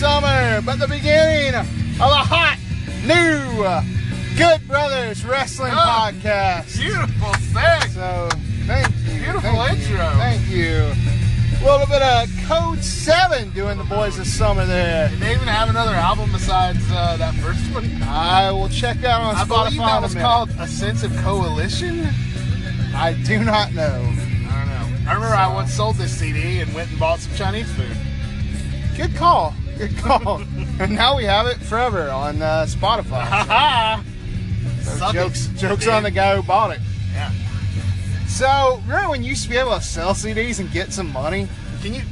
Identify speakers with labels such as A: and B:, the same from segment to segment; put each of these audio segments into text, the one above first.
A: but the beginning of a hot, new Good Brothers Wrestling
B: Oh.
A: podcast.
B: Beautiful thing.
A: So, thank you.
B: Beautiful
A: thank you,
B: intro.
A: thank you. A little bit of Code 7 doing the boys this summer there.
B: Did they even have another album besides uh, that first one?
A: I will check that on
B: I
A: Spotify.
B: believe
A: in
B: that
A: a
B: was
A: minute.
B: called A Sense of Coalition.
A: I do not know.
B: I don't know. I remember I once sold this CD and went and bought some Chinese food.
A: Good call. Good call. and now we have it forever on uh, Spotify.
B: Ha
A: So
B: Suck it,
A: jokes jokes on the
B: dude.
A: guy who bought it.
B: Yeah.
A: So, remember when you used to be able to sell CDs and get some money?
B: Can you?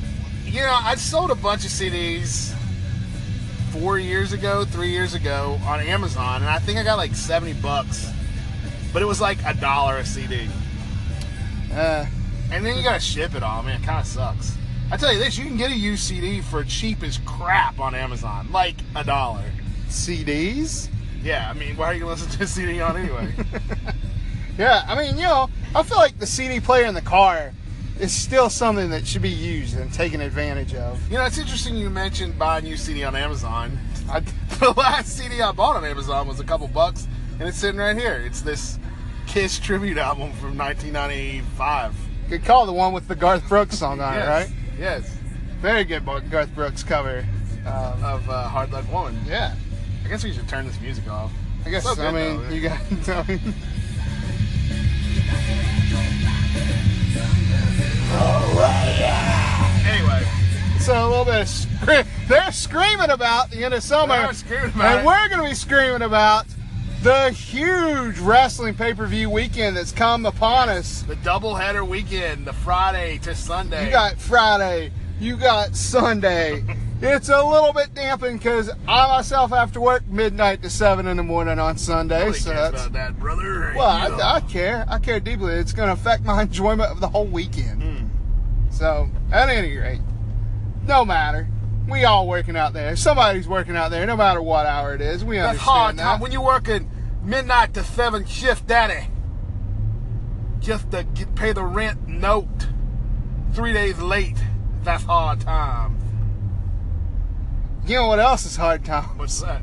B: You know, I sold a bunch of CDs four years ago, three years ago on Amazon, and I think I got like seventy bucks, but it was like a dollar a CD.
A: Uh,
B: And then you gotta ship it all, man. It kind of sucks. I tell you this, you can get a used CD for cheap as crap on Amazon, like a dollar.
A: CDs?
B: Yeah, I mean, why are you gonna listen to a CD on anyway?
A: Yeah, I mean, you know, I feel like the CD player in the car is still something that should be used and taken advantage of.
B: you know, it's interesting you mentioned buying used CD on Amazon. I, the last CD I bought on Amazon was a couple bucks, and it's sitting right here. It's this Kiss tribute album from 1995.
A: Good call, the one with the Garth Brooks song on
B: yes,
A: it, right?
B: Yes,
A: Very good Bo- Garth Brooks cover. Um,
B: of uh, Hard Luck Woman.
A: yeah,
B: I guess we should turn this music off.
A: I guess.
B: So good,
A: I mean,
B: though.
A: you got. I mean,
B: Anyway.
A: so a little bit of scre- they're screaming about the end of summer,
B: They are screaming about
A: and
B: it.
A: we're going to be screaming about the huge wrestling pay-per-view weekend that's come upon us.
B: The doubleheader weekend, the Friday to Sunday.
A: You got Friday. You got Sunday. it's a little bit dampened because I myself have to work midnight to seven in the morning on Sunday.
B: Nobody
A: so
B: cares
A: that's
B: about that, brother.
A: well,
B: You know.
A: I, I care. I care deeply. It's going to affect my enjoyment of the whole weekend.
B: Mm.
A: So at any rate, no matter. We all working out there. Somebody's working out there, no matter what hour it is. We
B: That's hard,
A: understand
B: Tom.
A: that.
B: When you're working midnight to seven shift, daddy, just to get, pay the rent note three days late. That's hard, Tom.
A: You know what else is hard, Tom?
B: What's that?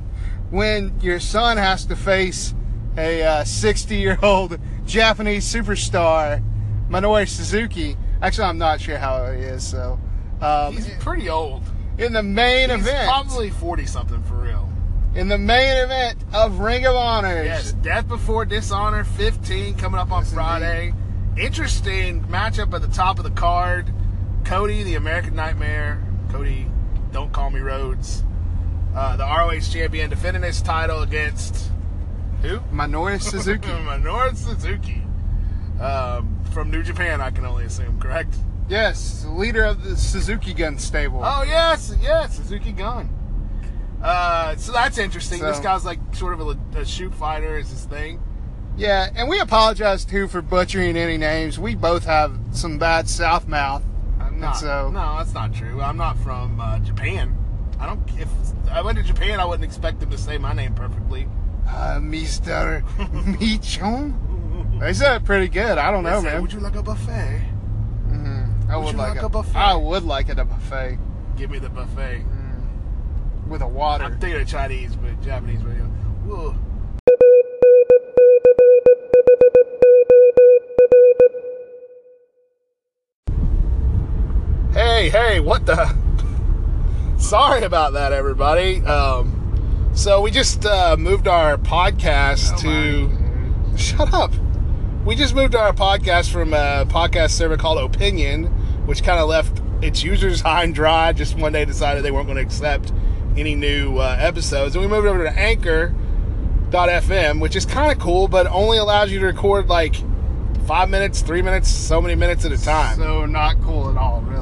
A: When your son has to face a 60 year old Japanese superstar, Minoru Suzuki. Actually, I'm not sure how he is. So, um,
B: He's pretty old.
A: in the main
B: He's
A: event,
B: probably forty something for real.
A: in the main event of Ring of Honor,
B: Yes, Death Before Dishonor 15 coming up on
A: Yes,
B: Friday. Interesting matchup at the top of the card. Cody, the American Nightmare. Cody, don't call me Rhodes. Uh, the ROH champion defending his title against who?
A: Minoru Suzuki.
B: Minoru Suzuki. Um, from New Japan, I can only assume, correct?
A: yes, leader of the Suzuki Gun Stable.
B: Oh, yes, yes, Suzuki Gun. Uh, so that's interesting.
A: So-
B: This guy's like sort of a, a shoot fighter, is his thing.
A: Yeah, and we apologize too for butchering any names. We both have some bad South mouth.
B: I'm not.
A: so-
B: no, that's not true. I'm not from uh, Japan. I don't. If I went to Japan, I wouldn't expect them to say my name perfectly.
A: Uh, Mr. Michon? They said it pretty good. I don't
B: They
A: know,
B: say,
A: man.
B: Would you like a buffet?
A: Mhm. I
B: would
A: would,
B: you
A: like,
B: like
A: a,
B: a buffet?
A: I would like it a buffet
B: Give me the buffet.
A: Mm. with a water.
B: I'm thinking of Chinese, but Japanese radio. Whoa. Hey, hey, what the? Sorry about that, everybody. Um, so we just uh, moved our podcast to. Shut up. We just moved our podcast from a podcast server called Opinion, which kind of left its users high and dry. Just one day decided they weren't going to accept any new uh, episodes. And we moved over to Anchor.fm, which is kind of cool, but only allows you to record like five minutes, three minutes, so many minutes at a time.
A: So not cool at all, really.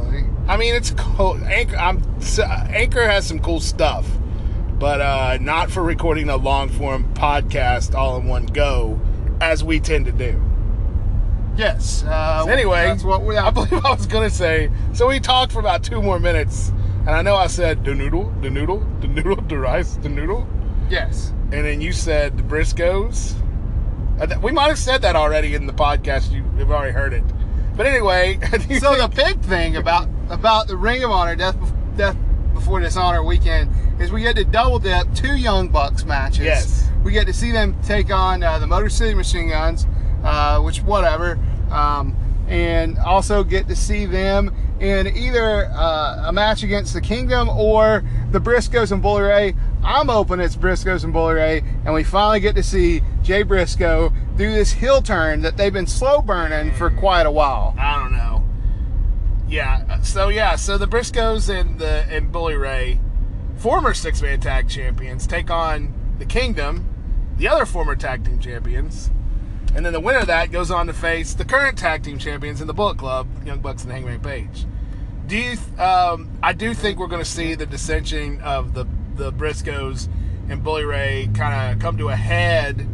B: I mean, it's cool. Anchor, I'm, s- Anchor has some cool stuff, but uh, not for recording a long form podcast all in one go, as we tend to do.
A: Yes. Uh,
B: So anyway,
A: that's what we.
B: I believe I was gonna say. So we talked for about two more minutes, and I know I said the noodle, the noodle, the noodle, the rice, the noodle,
A: yes.
B: and then you said the Briscoes. I th- We might have said that already in the podcast. You have already heard it, but anyway. do you
A: So
B: think-
A: the big thing about about the Ring of Honor Death Bef- Death Before Dishonor weekend is we get to double dip two Young Bucks matches.
B: Yes.
A: We get to see them take on uh, the Motor City Machine Guns, uh, which whatever, um, and also get to see them in either uh, a match against the Kingdom or the Briscoes and Bully Ray. I'm hoping it's Briscoes and Bully Ray, and we finally get to see Jay Briscoe do this heel turn that they've been slow burning for quite a while.
B: I don't know. Yeah. uh, So yeah. So the Briscoes and the and Bully Ray, former six man tag champions, take on the Kingdom, the other former tag team champions, and then the winner of that goes on to face the current tag team champions in the Bullet Club, Young Bucks and Hangman Page. Do you? th- Um, I do think we're going to see the dissension of the the Briscoes and Bully Ray kind of come to a head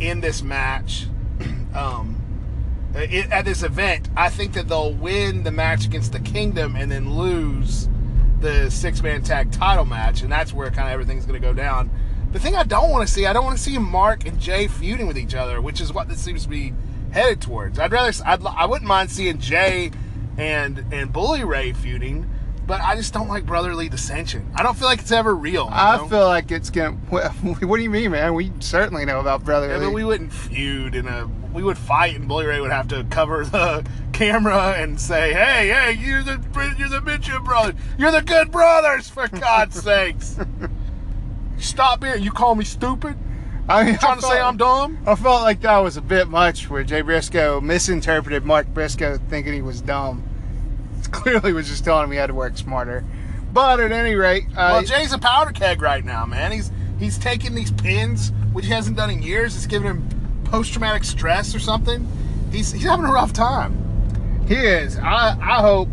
B: in this match. Um, uh, it, at this event, I think that they'll win the match against the Kingdom and then lose the six man tag title match, and that's where kind of everything's going to go down. The thing I don't want to see, I don't want to see Mark and Jay feuding with each other, which is what this seems to be headed towards. I'd rather, s- I'd, li- I wouldn't mind seeing Jay and and Bully Ray feuding, but I just don't like brotherly dissension. I don't feel like it's ever real. you
A: I
B: know?
A: feel like it's gonna. What, what do you mean, man? We certainly know about brotherly.
B: Yeah, but we wouldn't feud in a. We would fight, and Bully Ray would have to cover the camera and say, "Hey, hey, you're the you're the midget brother. You're the good brothers, for God's sakes. Stop it! You call me stupid?
A: I mean,
B: Trying
A: I
B: to say
A: felt-
B: I'm dumb?
A: I felt like that was a bit much where Jay Briscoe misinterpreted Mark Briscoe thinking he was dumb. Clearly was just telling him he had to work smarter. But at any rate, uh,
B: well, Jay's a powder keg right now, man. He's he's taking these pins, which he hasn't done in years. It's giving him post traumatic stress or something. He's he's having a rough time.
A: he is. I, I hope.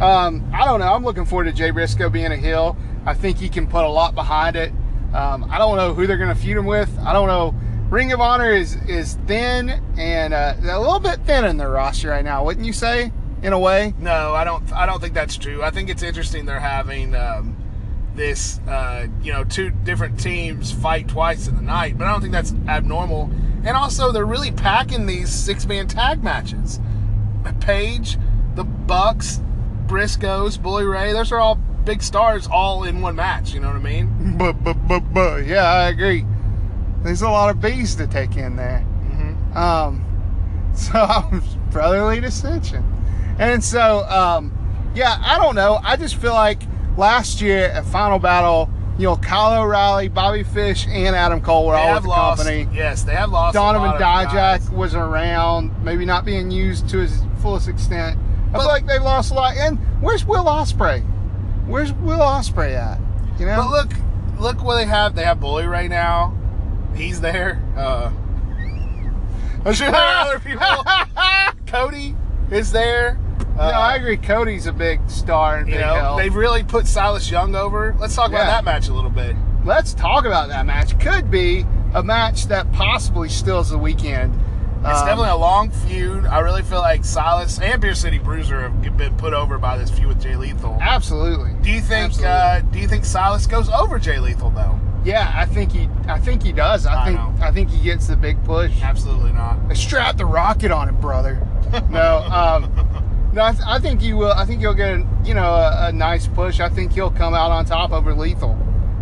A: Um, I don't know. I'm looking forward to Jay Briscoe being a heel. I think he can put a lot behind it. Um, I don't know who they're going to feud him with. I don't know. Ring of Honor is is thin and uh, a little bit thin in their roster right now, wouldn't you say? In a way.
B: No, I don't. I don't think that's true. I think it's interesting they're having um, this, uh, you know, two different teams fight twice in the night, but I don't think that's abnormal. And also, they're really packing these six-man tag matches. Page, the Bucks, Briscoes, Bully Ray. Those are all big stars, all in one match. You know what I mean?
A: Buh, buh, buh, buh. Yeah, I agree. There's a lot of bees to take in there.
B: Mm-hmm.
A: Um, so I'm brotherly dissension. And so, um, yeah, I don't know. I just feel like last year at Final Battle, you know, Kyle O'Reilly, Bobby Fish, and Adam Cole were
B: They
A: all with
B: have
A: the
B: lost.
A: company.
B: Yes, they have lost. a
A: Donovan
B: lot of guys.
A: Dijak was around, maybe not being used to his fullest extent. I
B: But-
A: feel like they've lost a lot. And where's Will Osprey? Where's Will Osprey at? You know,
B: But look, look what they have. They have Bully right now. He's there. Uh, I'm sure there are other people. Cody is there. Uh,
A: no, I agree. Cody's a big star in
B: You
A: Big
B: know,
A: Hell.
B: they've really put Silas Young over. Let's talk about
A: Yeah.
B: that match a little bit.
A: Let's talk about that match. Could be a match that possibly steals the weekend.
B: It's
A: Um,
B: definitely a long feud. I really feel like Silas and Beer City Bruiser have been put over by this feud with Jay Lethal.
A: absolutely.
B: Do you think?
A: Absolutely.
B: Uh, do you think Silas goes over Jay Lethal though?
A: Yeah, I think he. I think he does. I,
B: I
A: think.
B: know.
A: I think he gets the big push.
B: Absolutely not.
A: Strap the rocket on him, brother. No, um, no. I, th- I think he will. I think he'll get a, you know a, a nice push. I think he'll come out on top over Lethal.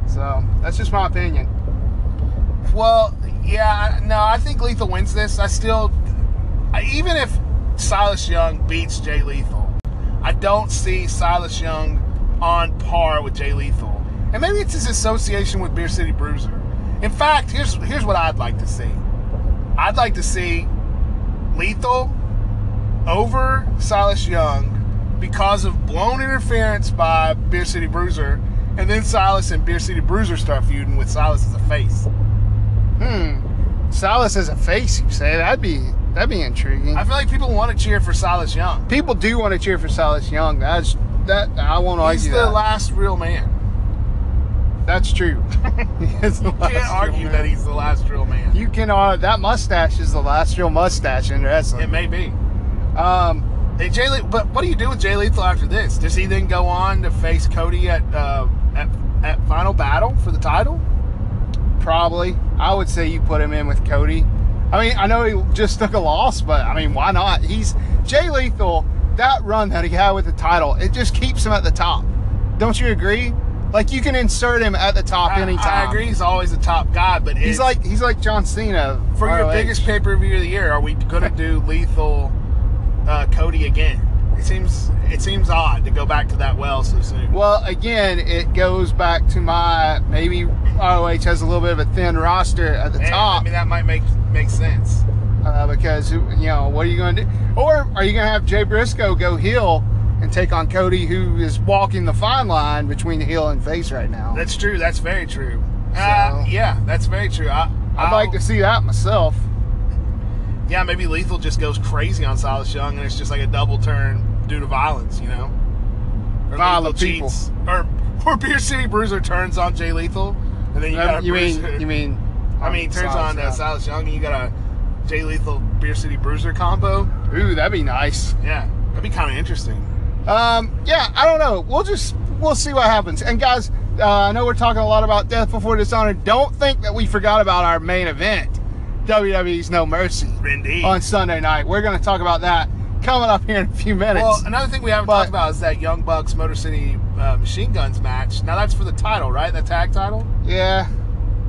A: So that's just my opinion.
B: Well, yeah, I- no, I think Lethal wins this. I still, I, even if Silas Young beats Jay Lethal, I don't see Silas Young on par with Jay Lethal. And maybe it's his association with Beer City Bruiser. In fact, here's here's what I'd like to see. I'd like to see Lethal over Silas Young because of blown interference by Beer City Bruiser, and then Silas and Beer City Bruiser start feuding with Silas as a face.
A: Hmm. Silas as a face, you say? That'd be that'd be intriguing.
B: I feel like people want to cheer for Silas Young.
A: people do want to cheer for Silas Young. That's that I won't
B: He's
A: argue
B: the
A: that.
B: last real man.
A: That's true. He is the
B: You can't
A: last
B: argue
A: real
B: that
A: man.
B: he's the last real man.
A: You can uh, that mustache is the last real mustache in
B: It
A: wrestling.
B: may be.
A: Um,
B: Hey, Jay, Le- but what do you do with Jay Lethal after this? Does he then go on to face Cody at uh, at, at Final Battle for the title?
A: probably. I would say you put him in with Cody. I mean, I know he just took a loss, but I mean, why not? He's Jay Lethal. That run that he had with the title, it just keeps him at the top. Don't you agree? Like you can insert him at the top
B: I,
A: anytime.
B: I agree. He's always the top guy, but
A: He's
B: it's-
A: like he's like John Cena
B: for your
A: ROH.
B: biggest pay per view of the year. Are we going to do lethal uh, Cody again? It seems it seems odd to go back to that well so soon.
A: Well, again, it goes back to my maybe ROH has a little bit of a thin roster at the
B: And,
A: top
B: I mean, that might make make sense.
A: uh, because you know what are you going to do? Or are you going to have Jay Briscoe go heel and take on Cody, who is walking the fine line between heel and face right now?
B: That's true. That's very true. Uh,
A: So-
B: yeah, that's very true. I,
A: I'd like to see that myself.
B: Yeah, maybe Lethal just goes crazy on Silas Young, and it's just like a double turn due to violence, you know? Or
A: Violent people.
B: Lethal cheats. Or or Beer City Bruiser turns on Jay Lethal, and then you got
A: Um,
B: a
A: you mean
B: Bruiser-
A: you mean?
B: I mean, he turns
A: Silas
B: on uh,
A: Young.
B: Silas Young, and you got a Jay Lethal Beer City Bruiser combo.
A: Ooh, that'd be nice.
B: Yeah, that'd be kind of interesting.
A: Um, yeah, I don't know. We'll just we'll see what happens. And guys, uh, I know we're talking a lot about Death Before Dishonor. Don't think that we forgot about our main event, WWE's No Mercy,
B: Indeed.
A: on Sunday night. We're going to talk about that coming up here in a few minutes.
B: well, another thing we haven't
A: But-
B: talked about is that Young Bucks Motor City uh, Machine Guns match. Now that's for the title, right? The tag title.
A: yeah,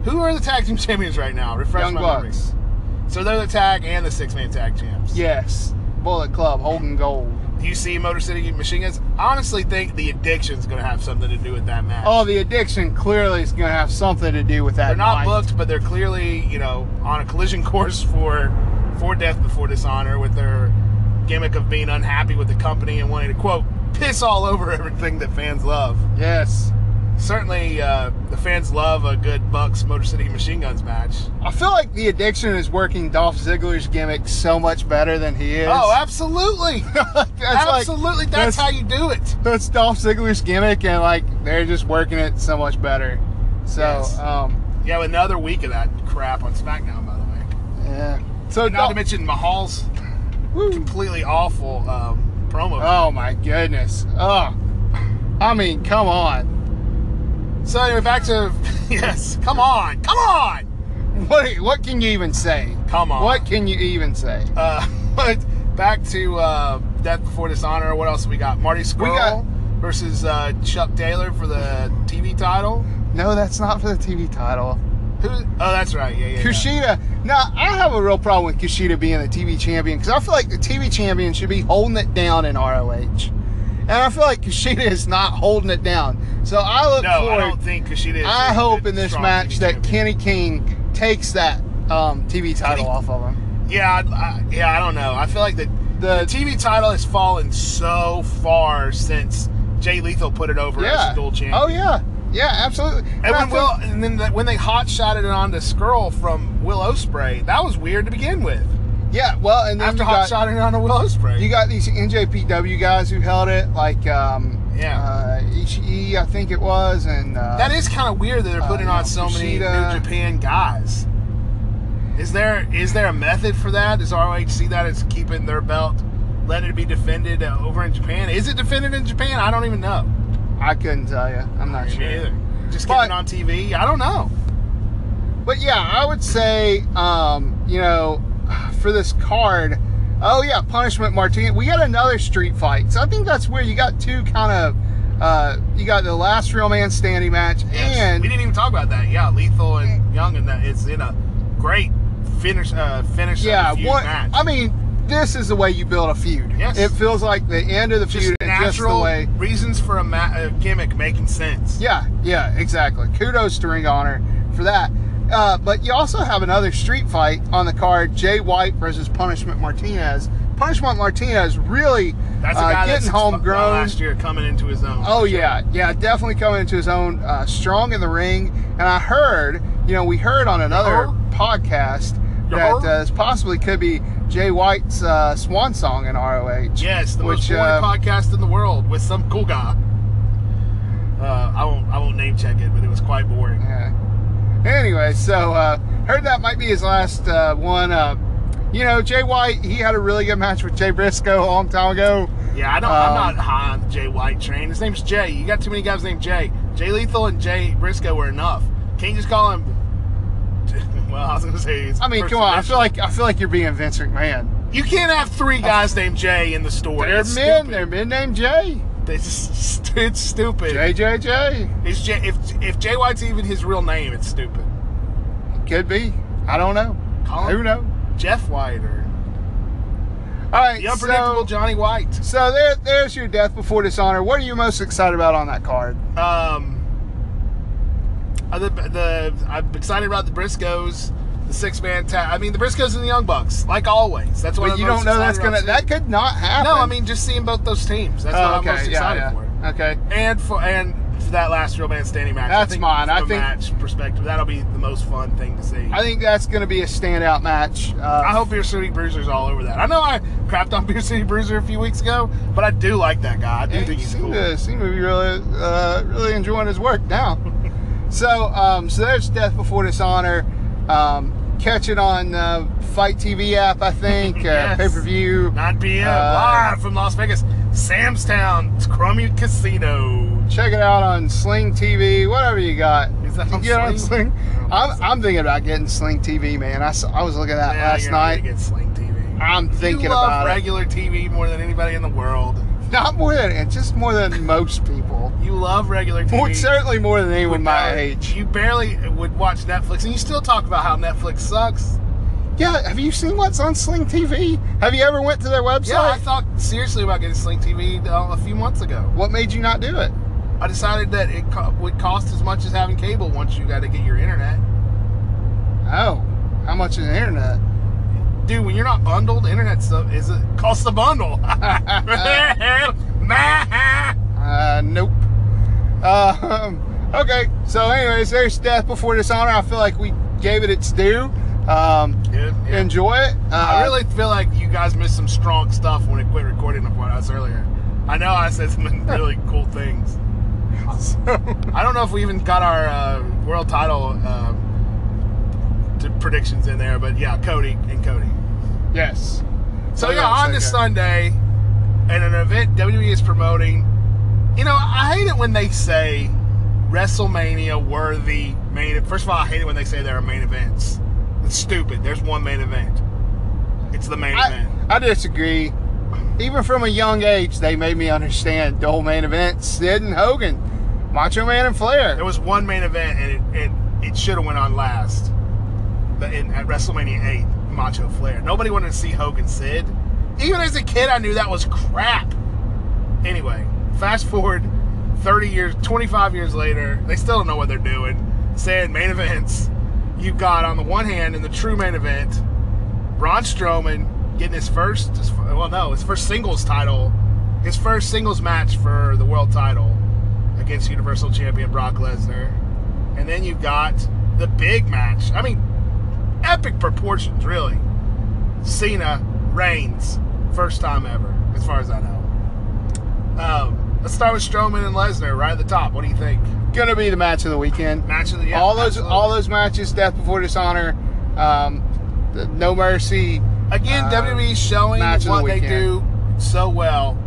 B: Who are the tag team champions right now? Refresh
A: Young
B: my
A: Bucks.
B: memory. So they're the tag and the six man tag champs.
A: Yes, Bullet Club, Hogan Gold.
B: Do you see Motor City Machine Guns? I honestly think the addiction's going to have something to do with that match.
A: Oh, the addiction clearly is going to have something to do with that.
B: they're not
A: night.
B: booked, but they're clearly you know on a collision course for for death before dishonor with their gimmick of being unhappy with the company and wanting to quote piss all over everything that fans love.
A: Yes.
B: Certainly, uh, the fans love a good Bucks Motor City Machine Guns match.
A: I feel like the addiction is working Dolph Ziggler's gimmick so much better than he is.
B: Oh, absolutely,
A: That's like-
B: absolutely.
A: that's-
B: that's how you do it.
A: that's Dolph Ziggler's gimmick, and like they're just working it so much better. So,
B: Yes.
A: um,
B: You have another week of that crap on SmackDown, by the way.
A: yeah. So
B: Not to
A: Dolph-
B: mention Mahal's
A: woo.
B: completely awful um, promo.
A: oh my goodness. Oh, I mean, come on.
B: so anyway, back to yes. Come on, come on,
A: What what can you even say?
B: come on.
A: What can you even say?
B: Uh, but back to uh, Death Before Dishonor. What else we got? Marty Squirrel
A: got-
B: versus uh, Chuck Taylor for the TV title.
A: No, that's not for the TV title.
B: Who? Oh, that's right. Yeah, yeah. yeah.
A: Kushida. Now, I have a real problem with Kushida being the TV champion because I feel like the TV champion should be holding it down in ROH. And I feel like Kushida is not holding it down. So I look
B: No,
A: forward.
B: I don't think Kushida. Is
A: I
B: a
A: hope
B: good,
A: in this
B: strong
A: match
B: TV
A: that
B: champion.
A: Kenny King takes that um, TV title
B: Kenny-
A: off of him.
B: Yeah, I, I, yeah. I don't know. I feel like the, the
A: The-
B: TV title has fallen so far since Jay Lethal put it over
A: Yeah.
B: as dual champion.
A: Oh yeah. Yeah, absolutely.
B: And
A: I
B: when
A: think-
B: Will, and then the, when they hot shotted it onto Skrull from Will Ospreay, that was weird to begin with.
A: yeah, well, and then
B: After
A: you got,
B: hot shotting it onto Will Ospreay,
A: you got these NJPW guys who held it, like um,
B: Yeah.
A: uh, Ishii, I think it was, and uh,
B: That is kind of weird that they're
A: Uh,
B: putting
A: you
B: on
A: know,
B: so many
A: Kushida.
B: New Japan guys. Is there is there a method for that? Does ROH see that as keeping their belt, letting it be defended uh, over in Japan? Is it defended in Japan? I don't even know.
A: I couldn't tell you. I'm not sure.
B: Either. Just
A: But-
B: keeping it on TV. I don't know.
A: But yeah, I would say, um, you know, for this card, oh yeah, Punishment Martinez. We got another street fight, so I think that's where you got two kind of, uh, you got the last real man standing match,
B: Yes. we
A: and
B: didn't even talk about that. Yeah, Lethal and Young, and that it's in a great finish. Uh, finish.
A: yeah,
B: of the feud
A: one.
B: match.
A: I mean, this is the way you build a feud.
B: Yes.
A: It feels like the end of the
B: just
A: feud is just the
B: natural
A: way.
B: reasons for a, ma- a gimmick making sense.
A: Yeah, yeah, exactly. Kudos to Ring Honor for that. Uh, but you also have another street fight on the card: Jay White versus Punishment Martinez. Punishment Martinez really
B: That's a
A: uh,
B: guy that's
A: getting homegrown.
B: last year coming into his own.
A: Oh yeah, yeah, definitely coming into his own, uh, strong in the ring. And I heard, you know, we heard on another
B: Uh-huh.
A: podcast
B: You
A: that
B: heard?
A: uh, this possibly could be Jay White's uh, swan song in ROH.
B: Yes, the most
A: Which,
B: boring
A: uh,
B: podcast in the world with some cool guy. Uh, I won't. I won't name check it, but it was quite boring.
A: Yeah. Anyway, so uh, heard that might be his last uh, one. Uh, you know, Jay White, he had a really good match with Jay Briscoe a long time ago.
B: Yeah, I don't.
A: Um,
B: I'm not high on the Jay White train. His name's Jay. You got too many guys named Jay. Jay Lethal and Jay Briscoe were enough. Can't you just call him. Well, I was gonna say. His
A: I mean,
B: first
A: come on, I
B: initial.
A: feel like I feel like you're being Vince McMahon.
B: you can't have three guys named Jay in the story.
A: They're
B: It's
A: men,
B: stupid.
A: they're men named Jay.
B: It's just, it's stupid.
A: JJJ.
B: It's J- if if Jay White's even his real name, it's stupid.
A: Could be. I don't know.
B: Call him
A: Who knows?
B: Jeff White or
A: All right.
B: the unpredictable
A: So,
B: Johnny White.
A: so there, there's your death before dishonor. What are you most excited about on that card?
B: Um, uh, the, the I'm excited about the Briscoes, the six man tag. I mean, the Briscoes and the Young Bucks, like always. That's what
A: But
B: I'm
A: you don't
B: most
A: know that's
B: excited
A: gonna.
B: about
A: That could not
B: seeing.
A: happen.
B: No, I mean just seeing both those teams. That's
A: Oh,
B: what I'm most
A: yeah,
B: excited
A: yeah.
B: for.
A: Okay.
B: And for and for that last real man standing match.
A: That's mine.
B: From
A: I
B: a
A: think-
B: match perspective, that'll be the most fun thing to see.
A: I think that's going to be a standout match. Uh,
B: I hope Beer City Bruiser's all over that. I know I crapped on Beer City Bruiser a few weeks ago, but I do like that guy. I do
A: Yeah,
B: think
A: you
B: he's
A: seem
B: cool.
A: to seem to be really, uh, really enjoying his work now. so, um, so there's Death Before Dishonor. Um, catch it on uh, Fight TV app, I think. Uh,
B: Yes.
A: Pay per view.
B: 9 p.m.
A: Uh,
B: live from Las Vegas, Sam's Town, it's Crummy Casino.
A: Check it out on Sling TV, whatever you got.
B: Is that
A: You
B: on
A: get on
B: Sling? Oh.
A: Sling?
B: No,
A: I'm,
B: Sling.
A: I'm thinking about getting Sling TV, man. I, s- I was looking at that
B: Yeah,
A: last
B: you're gonna
A: night.
B: Get Sling TV.
A: I'm thinking
B: you love
A: about it.
B: regular TV more than anybody in the world.
A: Not more than and just more than most people.
B: You love regular TV.
A: More, certainly more than
B: You
A: anyone my
B: barely-
A: age.
B: You barely would watch Netflix, and you still talk about how Netflix sucks.
A: Yeah, have you seen what's on Sling TV? Have you ever went to their website?
B: Yeah, I thought seriously about getting Sling TV uh, a few months ago.
A: What made you not do it?
B: I decided that it co- would cost as much as having cable once you got to get your internet.
A: Oh, how much is the internet?
B: Dude, when you're not bundled, internet stuff is it costs a bundle. That's
A: Uh, nope. Um, okay, so anyways, there's Death Before Dishonor. I feel like we gave it its due. Um,
B: Good, yeah.
A: Enjoy it. Uh,
B: I really feel like you guys missed some strong stuff when it quit recording of us earlier. I know I said some really cool things. I don't know if we even got our uh, world title uh, t- predictions in there, but yeah, Cody and Cody.
A: yes.
B: So
A: Oh,
B: yeah, on
A: so
B: this
A: good.
B: Sunday, at an event WWE is promoting. You know, I hate it when they say WrestleMania worthy main. e, First of all, I hate it when they say there are main events. It's stupid. There's one main event. It's the main
A: I,
B: event.
A: I disagree. Even from a young age, they made me understand the whole main event: Sid and Hogan, Macho Man and Flair.
B: There was one main event, and it it, it should have went on last. But in, at WrestleMania eight, Macho Flair. Nobody wanted to see Hogan Sid. Even as a kid, I knew that was crap. Anyway, fast forward 30 years, 25 years later, they still don't know what they're doing. Saying main events, you've got on the one hand in the true main event, Braun Strowman getting his first, his, well, no, his first singles title, his first singles match for the world title against Universal Champion Brock Lesnar. And then you've got the big match. I mean, epic proportions, really. Cena Reigns, first time ever, as far as I know. Um, let's start with Strowman and Lesnar right at the top. What do you think?
A: Gonna be the match of the weekend.
B: Match of the yeah,
A: all those
B: absolutely.
A: all those matches, Death Before Dishonor, um, the No Mercy.
B: again
A: uh,
B: WWE showing
A: match of the
B: what they
A: weekend.
B: do so well,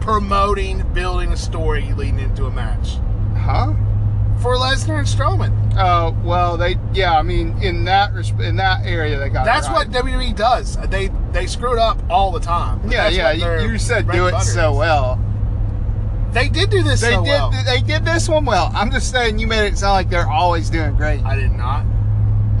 B: promoting, building a story leading into a match
A: Huh?
B: for Lesnar and Strowman.
A: Uh, well, they yeah. I mean, in that resp- in that area, they got.
B: That's
A: it
B: what
A: right.
B: WWE does. They they screw it up all the time. But
A: Yeah,
B: that's
A: yeah.
B: what their
A: You, you said
B: bread
A: do it
B: and butter
A: so
B: is.
A: well.
B: They did do this
A: They
B: so
A: did.
B: well.
A: They did this one well. I'm just saying, you made it sound like they're always doing great.
B: I did not.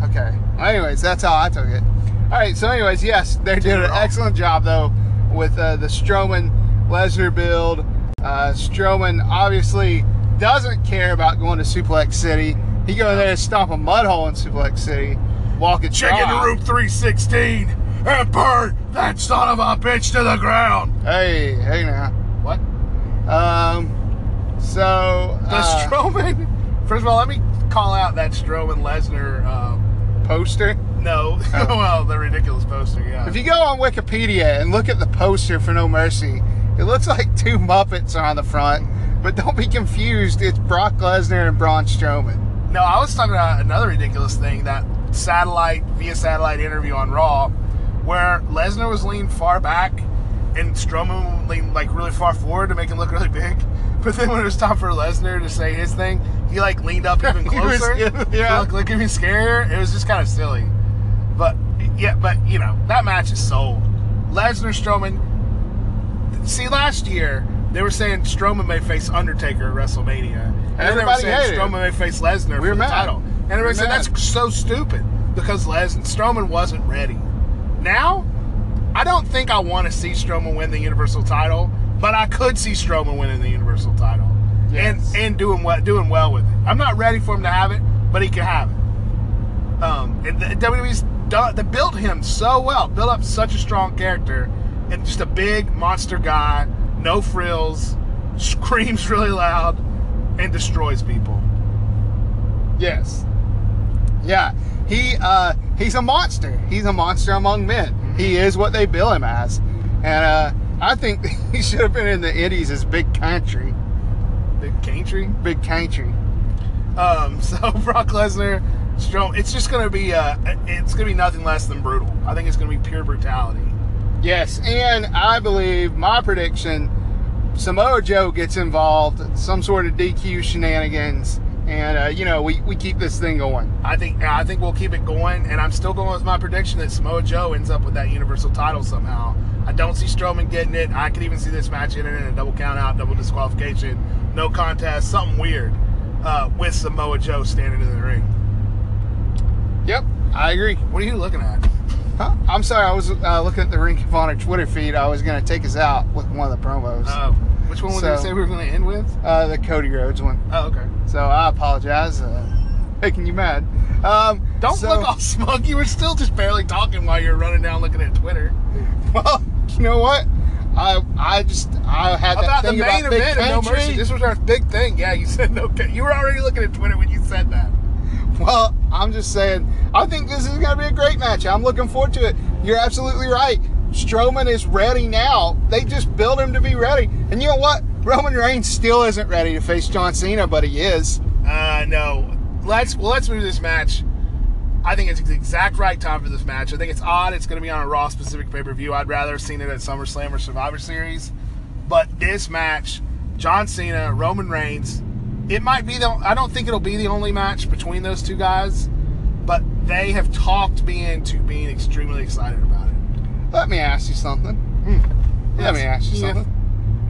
A: Okay. Anyways, that's how I took it. All right. So, anyways, yes, they did an excellent job though with uh, the Strowman Lesnar build. Uh, Strowman obviously doesn't care about going to Suplex City. He go in there and stomp a mud hole in Suplex City, walk it
B: Chicken to Room 316 and burn that son of a bitch to the ground.
A: Hey, hey now.
B: What?
A: Um. So
B: The
A: uh,
B: Strowman. First of all, let me call out that Strowman Lesnar. Um,
A: poster.
B: no,
A: Oh.
B: well, the ridiculous poster. Yeah.
A: If you go on Wikipedia and look at the poster for No Mercy, it looks like two Muppets are on the front. But don't be confused, it's Brock Lesnar and Braun Strowman.
B: No, I was talking about another ridiculous thing that satellite via satellite interview on Raw, where Lesnar was leaned far back and Strowman leaned like really far forward to make him look really big. But then when it was time for Lesnar to say his thing, he like leaned up even
A: He was-
B: closer.
A: yeah.
B: to look, look even scarier. It was just kind of silly. But yeah, but you know that match is sold. Lesnar Strowman. See, last year They were saying Strowman may face Undertaker at WrestleMania. And then they were
A: Everybody
B: saying
A: hated it.
B: Strowman may face Lesnar
A: We
B: for
A: were
B: the
A: mad.
B: title. And
A: We were
B: everybody said
A: mad.
B: that's so stupid because Lesnar Strowman wasn't ready. Now, I don't think I want to see Strowman win the Universal title, but I could see Strowman winning the Universal title
A: Yes.
B: and and doing well doing well with it. I'm not ready for him to have it, but he can have it. Um, and the, WWE's done, they built him so well, built up such a strong character, and just a big monster guy, no frills, screams really loud, and destroys people.
A: Yes. Yeah. He uh, he's a monster. He's a monster among men. He is what they bill him as, and uh, I think he should have been in the Indies as Big Country.
B: The Country.
A: Big Country.
B: Um, so Brock Lesnar, Strom, it's just gonna be uh, it's gonna be nothing less than brutal. I think it's gonna be pure brutality.
A: Yes, and I believe my prediction: Samoa Joe gets involved, some sort of DQ shenanigans, and uh, you know we, we keep this thing going.
B: I think I think we'll keep it going, and I'm still going with my prediction that Samoa Joe ends up with that Universal title somehow. I don't see Strowman getting it. I could even see this match ending in a double count out, double disqualification, no contest, something weird uh, with Samoa Joe standing in the ring.
A: Yep, I agree.
B: What are you looking at?
A: Huh? I'm sorry, I was uh, looking at the Rink of Honor Twitter feed. I was going to take us out with one of the promos, uh,
B: Uh, which one was
A: So-
B: they say we were going to end with?
A: the Cody Rhodes one.
B: Oh, okay.
A: So I apologize, uh, making you mad. Um,
B: Don't
A: so-
B: look all smug. You were still just barely talking while you're running down looking at Twitter
A: Well, you know what? I I just I had that
B: about the
A: thing
B: main
A: about Big
B: event of No
A: Country.
B: Mercy. This was our big thing. Yeah, you said no. You were already looking at Twitter when you said that.
A: Well, I'm just saying, I think this is going to be a great match. I'm looking forward to it. You're absolutely right. Strowman is ready now. They just built him to be ready. And you know what? Roman Reigns still isn't ready to face John Cena, but he is.
B: Uh, no. Let's well, let's move this match. I think it's the exact right time for this match. I think it's odd. It's going to be on a Raw specific pay per view. I'd rather have seen it at SummerSlam or Survivor Series. But this match, John Cena, Roman Reigns, it might be the. I don't think it'll be the only match between those two guys, but they have talked me into being extremely excited about it.
A: Let me ask you something. Let me ask you
B: Hmm. Yeah.
A: something.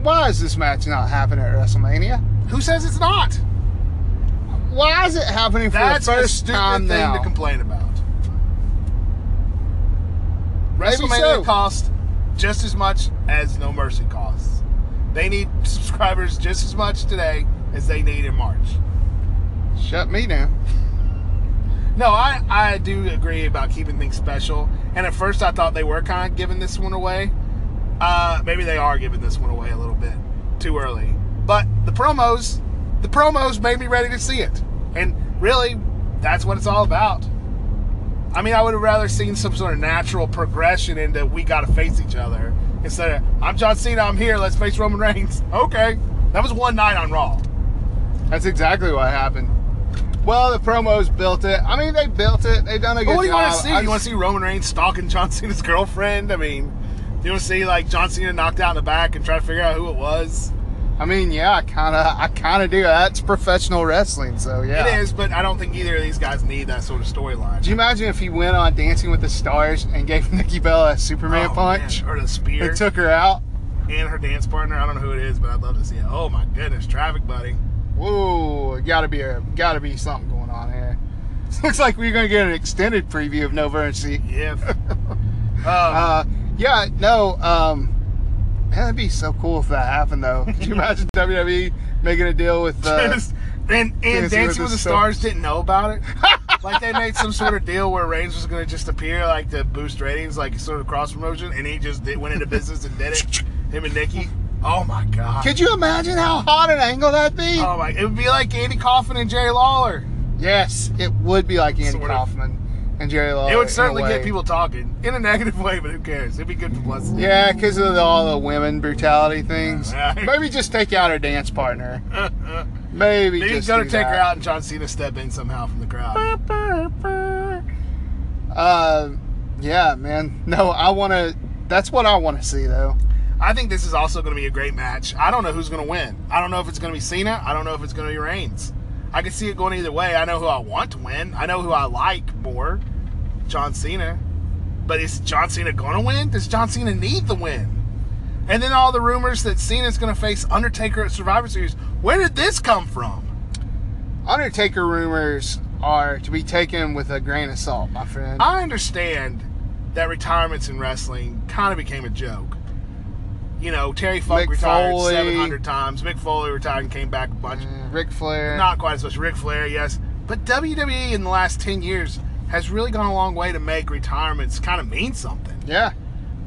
A: Why is this match not happening at WrestleMania?
B: Who says it's not?
A: Why is it happening for
B: That's
A: the
B: a
A: first
B: stupid
A: time
B: thing
A: now?
B: to complain about.
A: Maybe
B: WrestleMania
A: so.
B: costs just as much as No Mercy costs. They need subscribers just as much today as they need in March.
A: Shut me down.
B: No, I, I do agree about keeping things special. And at first, I thought they were kind of giving this one away. Uh, maybe they are giving this one away a little bit too early. But the promos, the promos made me ready to see it. And really, that's what it's all about. I mean, I would have rather seen some sort of natural progression into we got to face each other instead of I'm John Cena, I'm here, let's face Roman Reigns. Okay, that was one night on Raw.
A: That's exactly what happened. Well, the promos built it. I mean, they built it. They've done a good
B: But what do you
A: job.
B: want to see?
A: I
B: uh, you want
A: just-
B: to see Roman Reigns stalking John Cena's girlfriend? I mean, you want to see like John Cena knocked out in the back and try to figure out who it was?
A: I mean, yeah, I kind of, I kind of do. That's professional wrestling, so yeah.
B: It is, but I don't think either of these guys need that sort of
A: Do
B: storyline.
A: you imagine if he went on Dancing with the Stars and gave Nikki Bella a Superman
B: Oh,
A: punch
B: man, or the spear
A: and took her out?
B: and her dance partner. I don't know who it is, but I'd love to see it. Oh my goodness, traffic buddy.
A: Whoa, gotta be a, gotta be something going on here. Looks like we're gonna get an extended preview of No Mercy.
B: Yeah. Um,
A: Uh, yeah, no, um, man, that'd be so cool if that happened though. Could you imagine WWE making a deal with? Uh,
B: and and
A: Dancing with
B: Dancing
A: the
B: with the
A: Stars.
B: Stars didn't know about it. like they made some sort of deal where Reigns was going to just appear, like to boost ratings, like sort of cross promotion, and he just did, went into business and did it. Him and Nikki. Oh my god.
A: could you imagine how hot an angle that'd be?
B: Oh my! It would be like Andy Kaufman and Jerry Lawler.
A: yes, it would be like Andy
B: Sort of.
A: Kaufman and Jerry Lawler.
B: it
A: Oh, in a
B: would certainly
A: way.
B: get people talking in a negative way, but who cares? It'd be good publicity.
A: Yeah, because of the, all the women brutality things.
B: Right.
A: Maybe just take out her dance partner. Maybe
B: Maybe
A: just
B: he's gonna
A: do
B: take her
A: that.
B: out, and John Cena step in somehow from the crowd.
A: Uh, yeah, man. No, I want to. That's what I want to see, though.
B: I think this is also gonna be a great match. I don't know who's gonna win. I don't know if it's gonna be Cena. I don't know if it's gonna be Reigns. I can see it going either way. I know who I want to win. I know who I like more, John Cena. But is John Cena gonna win? Does John Cena need the win? And then all the rumors that Cena's going to face Undertaker at Survivor Series. Where did this come from?
A: Undertaker rumors are to be taken with a grain of salt, my friend.
B: I understand that retirements in wrestling kind of became a joke. You know, Terry Funk
A: Mick
B: retired
A: Foley.
B: 700 times. Mick Foley retired and came back a bunch.
A: Mm, Ric Flair.
B: Not quite as much. Ric Flair, yes. But WWE in the last 10 years has really gone a long way to make retirements kind of mean something.
A: Yeah.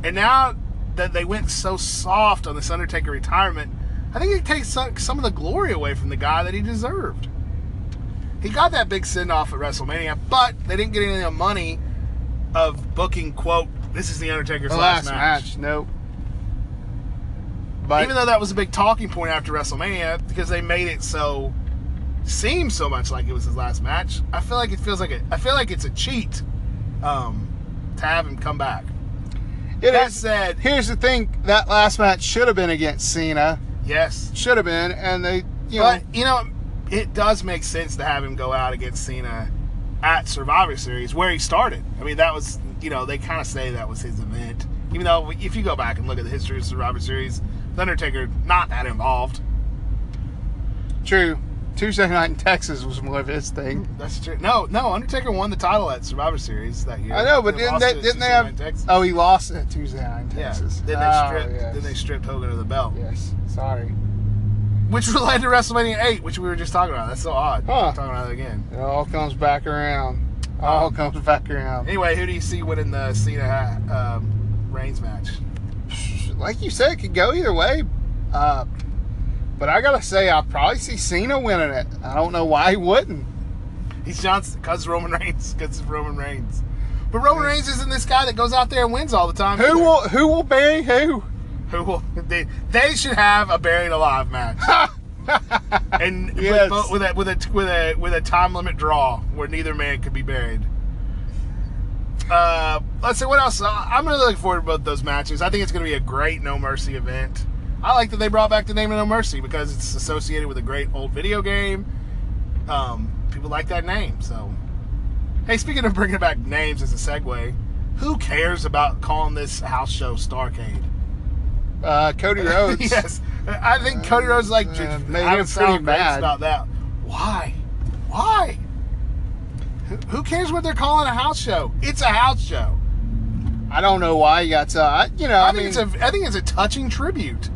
B: And now that they went so soft on this Undertaker retirement, I think it takes some, some of the glory away from the guy that he deserved. He got that big send off at WrestleMania, but they didn't get any of the money of booking, quote, this is the Undertaker's
A: The
B: last,
A: last
B: match.
A: match. Nope. But
B: Even though that was a big talking point after WrestleMania because they made it so seem so much like it was his last match, I feel like it feels like it. I feel like it's a cheat um, to have him come back.
A: it
B: that
A: is-
B: said-
A: here's the thing: that last match should have been against Cena.
B: Yes,
A: Should have been, and they, you know,
B: but you know, it does make sense to have him go out against Cena at Survivor Series where he started. I mean, that was you know they kind of say that was his event, even though if you go back and look at the history of Survivor Series, The Undertaker not that involved.
A: true. Tuesday night in Texas was more of his thing.
B: That's true. No, no, Undertaker won the title at Survivor Series that year.
A: I know, but
B: They
A: didn't
B: lost
A: they?
B: it
A: Didn't
B: at
A: they
B: Tuesday Night
A: have?
B: in Texas.
A: Oh, he lost it Tuesday night in
B: yeah.
A: Texas.
B: Then they
A: Oh,
B: stripped. Then they
A: yes.
B: stripped Hogan of the belt,
A: Yes. Sorry.
B: which related to WrestleMania Eight, which we were just talking about. That's so odd.
A: Huh.
B: Talking about it again.
A: It all comes back around.
B: Um,
A: All comes back around.
B: Anyway, who do you see winning the Cena um, Reigns match?
A: Like you said, it could go either way. Uh, but I gotta say, I probably see Cena winning it. I don't know why he wouldn't.
B: He's Johnson because Roman Reigns because Roman Reigns. But Roman Reigns isn't this guy that goes out there and wins all the time. either.
A: Who will who will bury who?
B: Who will? They, they should have a buried alive match. and
A: Yes.
B: with, with a with a with a with a time limit draw where neither man could be buried. Uh, let's see what else. I- I'm really looking forward to both those matches. I think it's going to be a great No Mercy event. I like that they brought back the name of No Mercy because it's associated with a great old video game. Um, people like that name. So, hey, speaking of bringing back names as a segue, who cares about calling this house show Starcade?
A: Uh, Cody Rhodes.
B: yes, I think Cody Rhodes is like
A: Uh,
B: uh,
A: made
B: I
A: him
B: would sound
A: pretty
B: mad
A: mad.
B: about that. Why? Why? Who- Who cares what they're calling a house show? It's a house show.
A: I don't know why he got so. I, you know,
B: I,
A: I,
B: think
A: mean,
B: it's a I think it's a touching tribute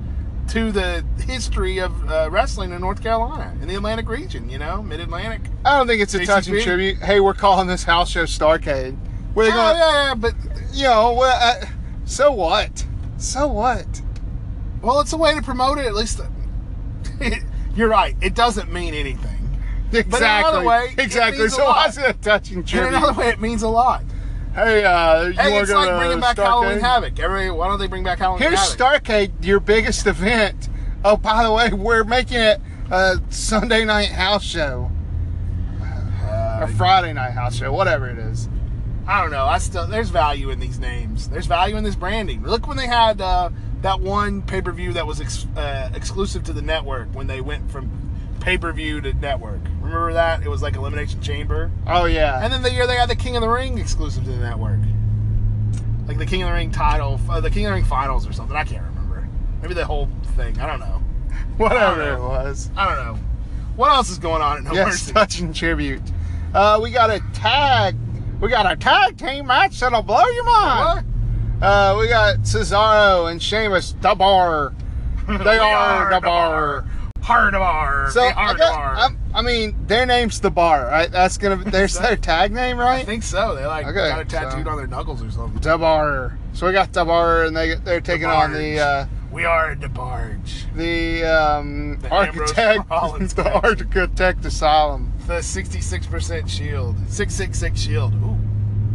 B: to the history of uh, wrestling in North Carolina in the Atlantic region. You know, Mid Atlantic.
A: I don't think it's a
B: JCP.
A: touching tribute. Hey, we're calling this house show Starcade. We're
B: Oh,
A: going. to
B: yeah, yeah, but
A: You know, well, uh, so what? So what?
B: well, it's a way to promote it. At least you're right. It doesn't mean anything.
A: Exactly.
B: another way, it
A: exactly.
B: means a
A: So
B: lot.
A: why is it a touching
B: In
A: tribute?
B: another way, it means a lot.
A: hey, uh, you
B: Hey,
A: want
B: it's
A: to go
B: like
A: to
B: bringing back
A: Starcade?
B: Halloween Havoc. Every why don't they bring back Halloween
A: Here's
B: Havoc?
A: Starcade, your biggest event. Oh, by the way, we're making it a Sunday night house show or
B: Uh,
A: Friday night house show, whatever it is.
B: I don't know. I still there's value in these names. There's value in this branding. Look when they had uh, that one pay per view that was ex- uh, exclusive to the network when they went from pay per view to network. Remember that? It was like Elimination Chamber.
A: Oh yeah.
B: And then the year they had the King of the Ring exclusive to the network, like the King of the Ring title, uh, the King of the Ring finals or something. I can't remember. Maybe the whole thing. I don't know. I
A: whatever
B: don't
A: it
B: know.
A: was.
B: I don't know. What else is going on at No
A: Yes,
B: Mercy?
A: touching tribute. Uh, we got a tag. We got a tag team match that'll blow your mind. Uh, we got Cesaro and Sheamus, the bar. They, are, the bar.
B: Hard bar.
A: So
B: they
A: I,
B: are
A: got-
B: the bar.
A: I'm- I mean, their name's the bar, right? That's gonna be their, their tag name,
B: I
A: right?
B: think so. They like
A: Okay,
B: got it tattooed
A: so-
B: on their knuckles or something.
A: The bar. So we got the bar, and they they're taking on the uh,
B: We are the barge.
A: the, um,
B: The Ambrose
A: architect,
B: Rollins
A: the
B: match.
A: architect asylum.
B: The 66% shield. 666 shield. Ooh.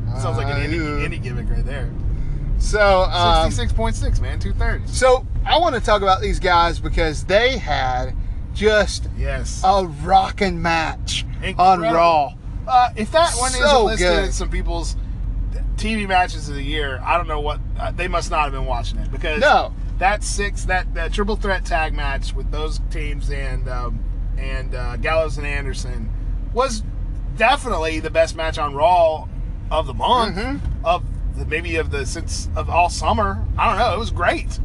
B: That sounds like an any,
A: Uh,
B: any gimmick right there.
A: So um,
B: 66.6, man. Two thirds.
A: So I want to talk about these guys because they had just
B: Yes.
A: a rocking match on
B: Incredible.
A: Raw.
B: Uh, if that one isn't
A: So
B: listed
A: good.
B: in some people's TV matches of the year, I don't know what uh, they must not have been watching it because
A: No.
B: that six that, that triple threat tag match with those teams and um, and uh, Gallows and Anderson was definitely the best match on Raw of the month
A: Mhm.
B: of the, maybe of the since of all summer. I don't know. It was great.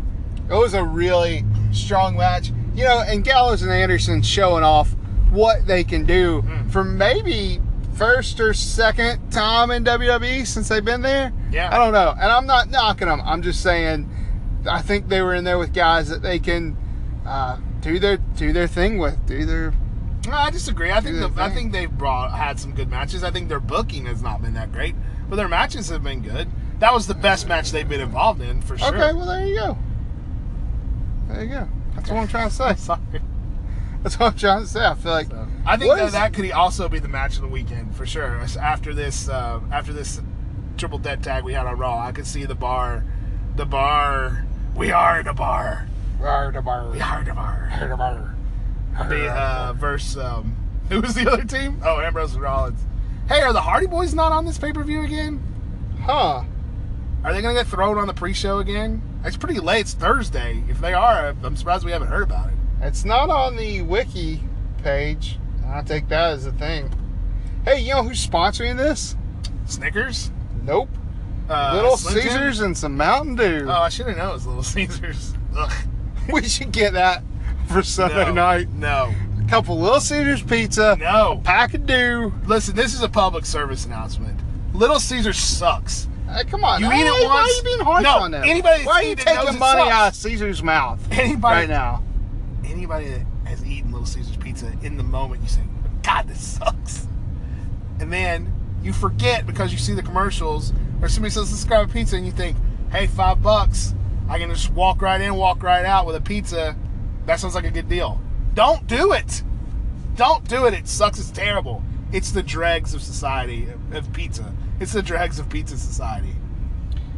A: It was a really strong match. You know, and Gallows and Anderson showing off what they can do
B: Mm.
A: for maybe first or second time in WWE since they've been there.
B: Yeah.
A: I don't know. And I'm not knocking them. I'm just saying I think they were in there with guys that they can uh, do their do their thing with, do their
B: No, I disagree. I think
A: their
B: the, I
A: thing.
B: think they've brought had some good matches. I think their booking has not been that great, but their matches have been good. That was the best match they've been involved in for sure.
A: Okay, well there you go. There you go. That's what I'm trying to say.
B: Sorry.
A: That's what I'm trying to say. I feel like
B: So, I think
A: What
B: that,
A: is-
B: that could also be the match of the weekend for sure. As- After this, uh, after this triple dead tag we had on Raw, I could see the bar, the bar. We are the bar. We are the bar. Be, uh, versus um, who was the other team? Oh, Ambrose and Rollins. Hey, are the Hardy Boys not on this pay per view again?
A: Huh.
B: Are they gonna get thrown on the pre show again? It's pretty late. It's Thursday. If they are, I'm surprised we haven't heard about it.
A: It's not on the wiki page. I take that as a thing. Hey, you know who's sponsoring this?
B: Snickers,
A: Nope.
B: uh,
A: Little
B: Slim Jim?
A: Caesars and some Mountain Dew.
B: Oh, I should have known it was Little Caesars. Ugh.
A: we should get that for Sunday night.
B: No.
A: A couple Little Caesars pizza,
B: No.
A: pack of dew.
B: Listen, this is a public service announcement. Little Caesars sucks.
A: Hey, Uh, come on.
B: You
A: Hey,
B: eat it
A: why
B: once-
A: are you being harsh
B: No,
A: on them?
B: anybody that's
A: Why are you
B: eaten it knows
A: taking
B: it
A: money
B: sucks.
A: out of Caesar's mouth
B: Anybody
A: right now?
B: anybody that has eaten Little Caesars pizza in the moment you say, God, this sucks. And then you forget because you see the commercials or somebody says let's grab a pizza and you think, hey, five bucks, I can just walk right in, walk right out with a pizza. That sounds like a good deal. Don't do it. Don't do it. It sucks. It's terrible. It's the dregs of society of- of pizza. It's the dregs of pizza society.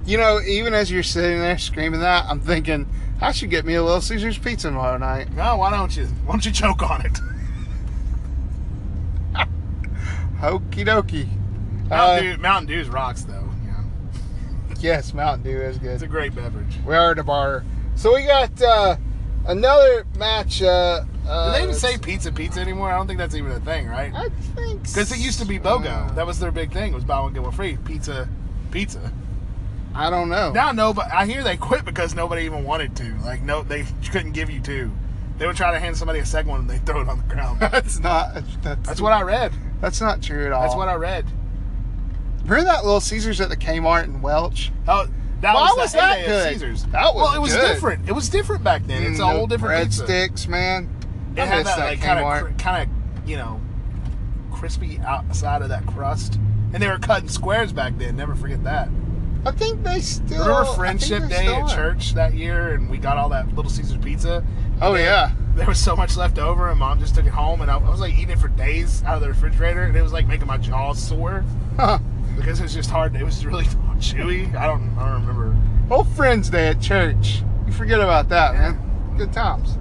A: You know, even as you're sitting there screaming that, I'm thinking I should get me a Little Caesars pizza tomorrow night.
B: No, why don't you? Why don't you choke on it?
A: Okie dokie. Uh,
B: Mountain, Dew, Mountain Dew's rocks though. Yeah.
A: yes, Mountain Dew is good.
B: It's a great beverage.
A: We are the bar. So we got uh, another match. Uh,
B: Do
A: uh,
B: they even say pizza pizza anymore? I don't think that's even a thing, right?
A: I think
B: Because it used to be BOGO. That was their big thing. Was buy one get one free. Pizza, pizza.
A: I don't know.
B: Now nobody. I hear they quit because nobody even wanted to. Like no, they couldn't give you two. They would try to hand somebody a second one and they throw it on the ground.
A: that's not. That's,
B: That's what I read.
A: That's not true at all.
B: That's what I read.
A: Remember that little Caesars at the Kmart in Welch?
B: Oh, that
A: Why
B: was, the
A: was that
B: heyday
A: good?
B: Of Caesars.
A: That was
B: well, it was
A: good.
B: different. It was different back then. It's a
A: Mm,
B: whole
A: no
B: different pizza.
A: breadsticks, man.
B: It
A: I
B: had
A: miss
B: that like kind of
A: Kmart.
B: kind of you know crispy outside of that crust, and they were cutting squares back then. Never forget that.
A: I think they still. I
B: Remember
A: think
B: Friendship
A: they
B: Day
A: still
B: at
A: are.
B: church that year, and we got all that Little Caesars pizza.
A: Oh yeah.
B: There was so much left over, and mom just took it home, and I, I was like eating it for days out of the refrigerator, and it was like making my jaws sore because it was just hard. It was really chewy. I don't, I don't remember.
A: Old Friends Day at church. You forget about that,
B: Yeah.
A: man. Good times.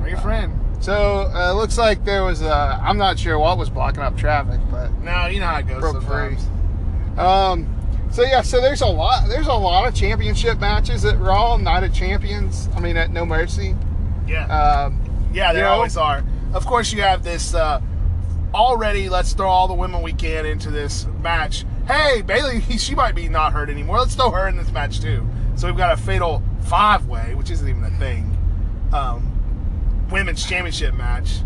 B: Are your friend?
A: So uh, looks like there was. Uh, I'm not sure what was blocking up traffic, but
B: No, you know how it goes.
A: Broke free.
B: sometimes.
A: Um, so yeah, so there's a lot. There's a lot of championship matches at Raw, Night of Champions. I mean, at No Mercy.
B: Yeah.
A: Um,
B: Yeah, there
A: You know?
B: always are. Of course, you have this. Uh, already, let's throw all the women we can into this match. Hey, Bailey, she might be not hurt anymore. Let's throw her in this match too. So we've got a fatal five-way, which isn't even a thing. Um, women's championship match.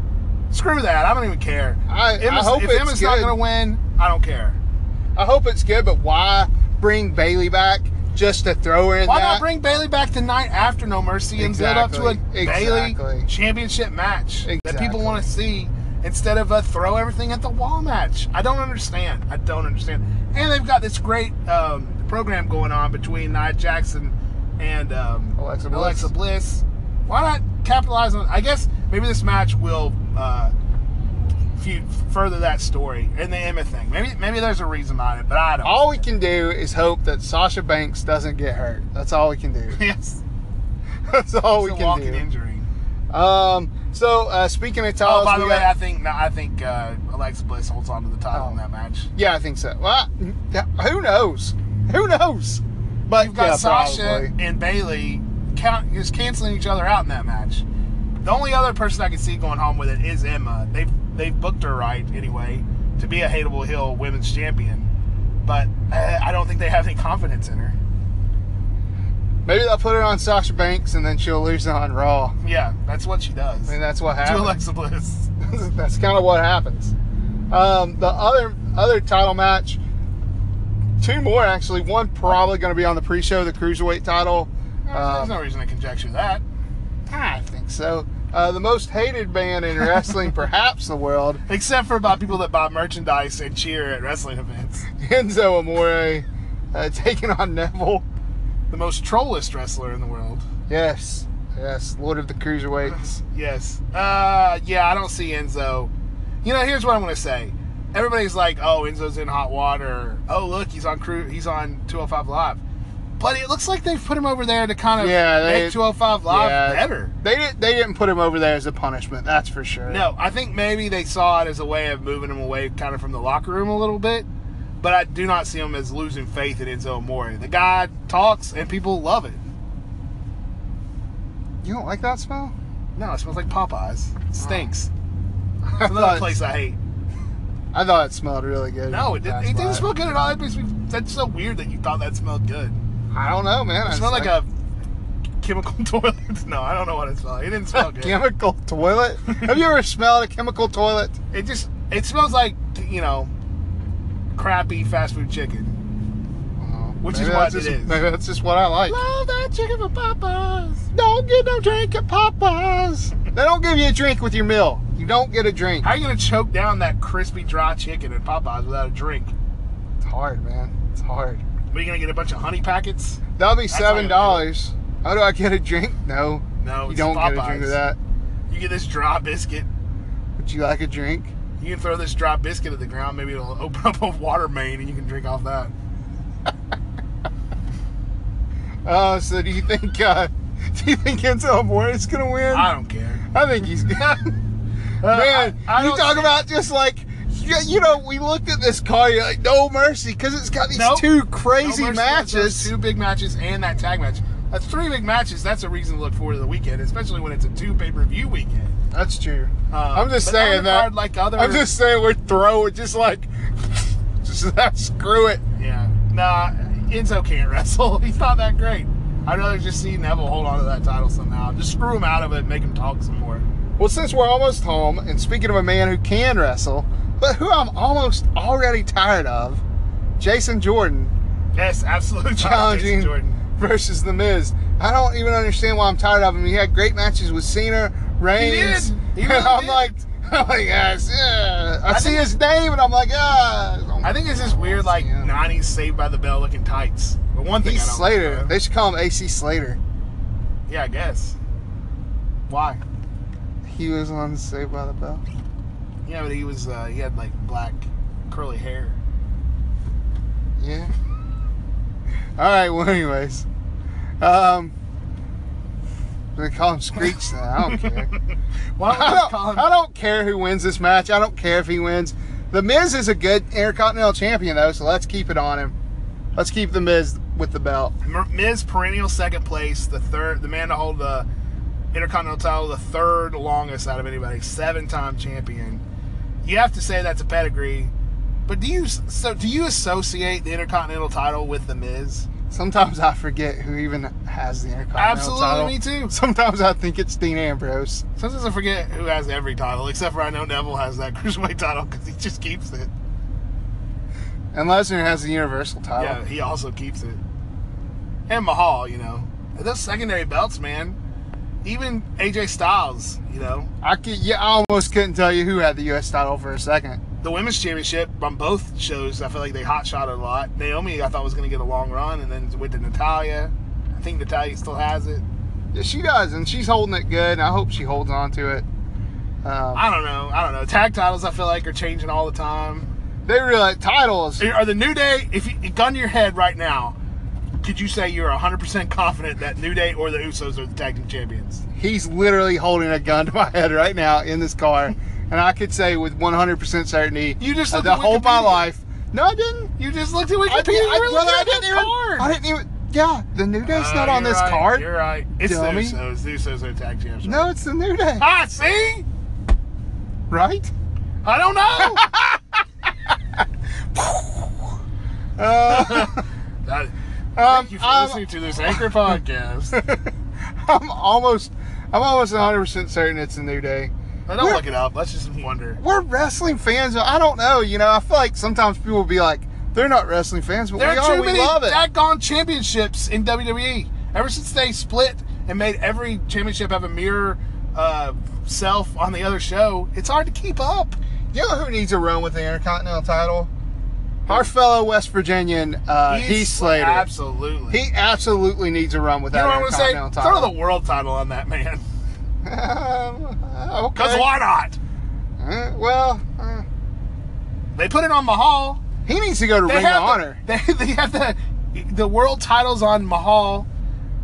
B: Screw that. I don't even care.
A: I- I hope
B: if
A: it's
B: Emma's not
A: good.
B: gonna win, I don't care.
A: I hope it's good, but why bring Bailey back just to throw her in?
B: Why
A: that?
B: not bring Bailey back the night after No Mercy and build up to a
A: Exactly. Exactly.
B: Bailey championship match that people
A: Exactly.
B: want to see instead of a throw everything at the wall match? I don't understand. I don't understand. And they've got this great um, program going on between Nia Jackson and um,
A: Alexa Bliss.
B: Alexa Bliss. Why not capitalize on? I guess maybe this match will uh, feud further that story and the Emma thing. Maybe maybe there's a reason behind it, but I don't.
A: All we can do is hope that Sasha Banks doesn't get hurt. That's all we can do.
B: yes,
A: That's all we
B: it's a
A: can
B: walking
A: do.
B: injury.
A: Um, so uh, speaking of titles,
B: Oh, by
A: we
B: the way,
A: got-
B: I think no, I think uh, Alexa Bliss holds on to the title
A: Oh.
B: in that match.
A: yeah, I think so. Well, I- who knows? Who knows? But
B: You've got
A: yeah,
B: Sasha
A: probably.
B: and Bailey count just canceling each other out in that match. The only other person I can see going home with it is Emma. They've they've booked her right anyway to be a hateable hill women's champion, but uh, I don't think they have any confidence in her.
A: Maybe they'll put it on Sasha Banks and then she'll lose it on Raw.
B: Yeah, that's what she does.
A: I mean, that's what
B: to
A: happens.
B: Alexa Bliss.
A: that's kind of what happens. Um, the other other title match, two more actually. One probably going to be on the pre-show, the cruiserweight title.
B: There's
A: Um,
B: no reason to conjecture that.
A: I think so. Uh, the most hated band in wrestling, perhaps the world,
B: Except for about people that buy merchandise and cheer at wrestling events.
A: Enzo Amore, uh, taking on Neville.
B: The most trollist wrestler in the world.
A: Yes, yes, Lord of the Cruiserweights.
B: Yes. Uh, yeah, I don't see Enzo. You know, here's what I'm going to say. Everybody's like, "Oh, Enzo's in hot water." Oh, look, he's on crew. He's on 205 Live. But it looks like they've put him over there to kind of
A: Yeah, they-
B: make 205 Live
A: yeah.
B: better.
A: They didn't. They didn't put him over there as a punishment. That's for sure.
B: No, I think maybe they saw it as a way of moving him away, kind of from the locker room a little bit. But I do not see him as losing faith in Enzo Amore. The guy talks, and people love it.
A: you don't like that smell.
B: No, it smells like Popeyes. It stinks.
A: I
B: It's another
A: thought,
B: place I hate.
A: I thought it smelled really good.
B: No, it didn't.
A: That's
B: It
A: why.
B: didn't smell good at all. That makes me. That's so weird that you thought that smelled good.
A: I don't know, man.
B: It smelled like a chemical toilet. No, I don't know what it smelled. It didn't smell good.
A: chemical toilet. Have you ever smelled a chemical toilet?
B: It just. It smells like you know, crappy fast food chicken. Uh, Which is
A: Maybe
B: what
A: that's
B: it
A: just,
B: is.
A: Maybe that's just what I like.
B: Love that chicken from Popeyes.
A: Don't get no drink at Popeyes. they don't give you a drink with your meal. You don't get a drink.
B: How are you gonna choke down that crispy dry chicken at Popeyes without a drink?
A: It's hard, man. It's hard.
B: What, Are you gonna get a bunch of honey packets?
A: That'll be
B: That's not
A: seven
B: gonna do it.
A: dollars. How do I get a drink? No,
B: No,
A: you
B: it's
A: don't
B: Popeyes.
A: get a drink of that.
B: You get this dry biscuit.
A: Would you like a drink?
B: You can throw this dry biscuit at the ground. Maybe it'll open up a water main, and you can drink off that.
A: Uh, so do you think? Uh, do you think Enzo Amore is gonna win?
B: I don't care.
A: I think he's good. Man,
B: Uh, I- I
A: you
B: don't
A: talk
B: see-
A: about just like you, you know, we looked at this car, you're like, no mercy, because it's got these
B: Nope.
A: two
B: No
A: crazy
B: mercy, that's
A: matches.
B: those Two big matches and that tag match. That's three big matches. That's a reason to look forward to the weekend, especially when it's a two pay per view weekend.
A: That's true.
B: Uh,
A: I'm just
B: but
A: saying that.
B: undercard Like other,
A: I'm just saying we're throwing just like just that screw it.
B: yeah. Nah, Enzo can't wrestle. He's not that great. I'd rather just see Neville hold on to that title somehow. Just screw him out of it. and Make him talk some more.
A: Well, since we're almost home, and speaking of a man who can wrestle, but who I'm almost already tired of, Jason Jordan
B: Yes, absolutely
A: challenging
B: Jordan.
A: versus The Miz. I don't even understand why I'm tired of him. He had great matches with Cena, Reigns.
B: did. He really
A: and I'm
B: did.
A: like, I'm like, yes, yeah. I,
B: I
A: see
B: think-
A: his name and I'm like, ah.
B: I think it's this weird like
A: Yeah.
B: '90s Saved by the Bell looking tights. But one thing
A: he's
B: I don't
A: Slater.
B: know.
A: They should call him AC Slater.
B: Yeah, I guess. Why?
A: He was on Saved by the Bell.
B: Yeah, but he was uh, he had like black curly hair.
A: Yeah. All right. Well, anyways, um, they call him Screech now. I don't care.
B: Why
A: I
B: don't we call
A: don't, I
B: him?
A: don't care who wins this match. I don't care if he wins. The Miz is a good Intercontinental Champion though, so let's keep it on him. Let's keep the Miz with the belt.
B: M- Miz perennial second place, the third, the man to hold the Intercontinental title, the third longest out of anybody, seven-time champion. You have to say that's a pedigree. But do you s- so do you associate the Intercontinental title with the Miz?
A: Sometimes I forget who even has the Intercontinental
B: Absolutely,
A: title.
B: me too.
A: Sometimes I think it's Dean Ambrose.
B: Sometimes I forget who has every title, except for I know Neville has that cruiserweight title because he just keeps it.
A: And Lesnar has the Universal title.
B: Yeah, he also keeps it. And Mahal, you know. Those secondary belts, man. Even AJ Styles, you know.
A: I could, yeah, I almost couldn't tell you who had the U.S. title for a second.
B: The women's championship on both shows, I feel like they hot shot a lot. Naomi, I thought was going to get a long run, and then went to Natalia. I think Natalia still has it.
A: Yeah, she does, and she's holding it good, and I hope she holds on to it. Um,
B: I don't know. I don't know. Tag titles, I feel like, are changing all the time.
A: they really titles.
B: Are the New Day, if you gun to your head right now, could you say you're 100% confident that New Day or the Usos are the tag team champions?
A: He's literally holding a gun to my head right now in this car, and I could say with 100% certainty.
B: You just
A: uh,
B: looked
A: the
B: at
A: whole my
B: Wikipedia.
A: life. No, I didn't.
B: You just looked at Wikipedia.
A: I, did, I,
B: We're
A: brother,
B: looking
A: I
B: at
A: didn't
B: that
A: even.
B: card.
A: I didn't even. Yeah, the New Day's
B: Uh,
A: not on
B: you're
A: this
B: right,
A: card.
B: You're right. uh, It's
A: Dummy.
B: the Usos. The Usos are the tag champs.
A: No, it's the New Day,
B: Ah, see?
A: right?
B: I don't know.
A: Uh,
B: Uh, That- Thank you for
A: Um,
B: listening to this Anchor podcast.
A: I'm almost, I'm almost 100 percent certain it's a new day.
B: I
A: We're-
B: don't look it up. Let's just wonder.
A: We're wrestling fans. but I don't know. You know, I feel like sometimes people will be like, they're not wrestling fans, but
B: There
A: we
B: are
A: are.
B: too
A: We
B: many
A: love it.
B: daggone championships in WWE. Ever since they split and made every championship have a mirror uh, self on the other show, it's hard to keep up.
A: You know who needs a run with the Intercontinental title? Our fellow West Virginian uh,
B: Heath
A: Heath Slater.
B: Absolutely.
A: he absolutely needs a run with
B: you know
A: that
B: what I'm
A: Intercontinental
B: going to say? Throw the
A: title.
B: world title on that man.
A: Um, okay.
B: Because why not?
A: Uh, well, uh,
B: They put it on Mahal.
A: he needs to go to
B: They
A: Ring of
B: have the-
A: Honor.
B: they, they have the, the world titles on Mahal,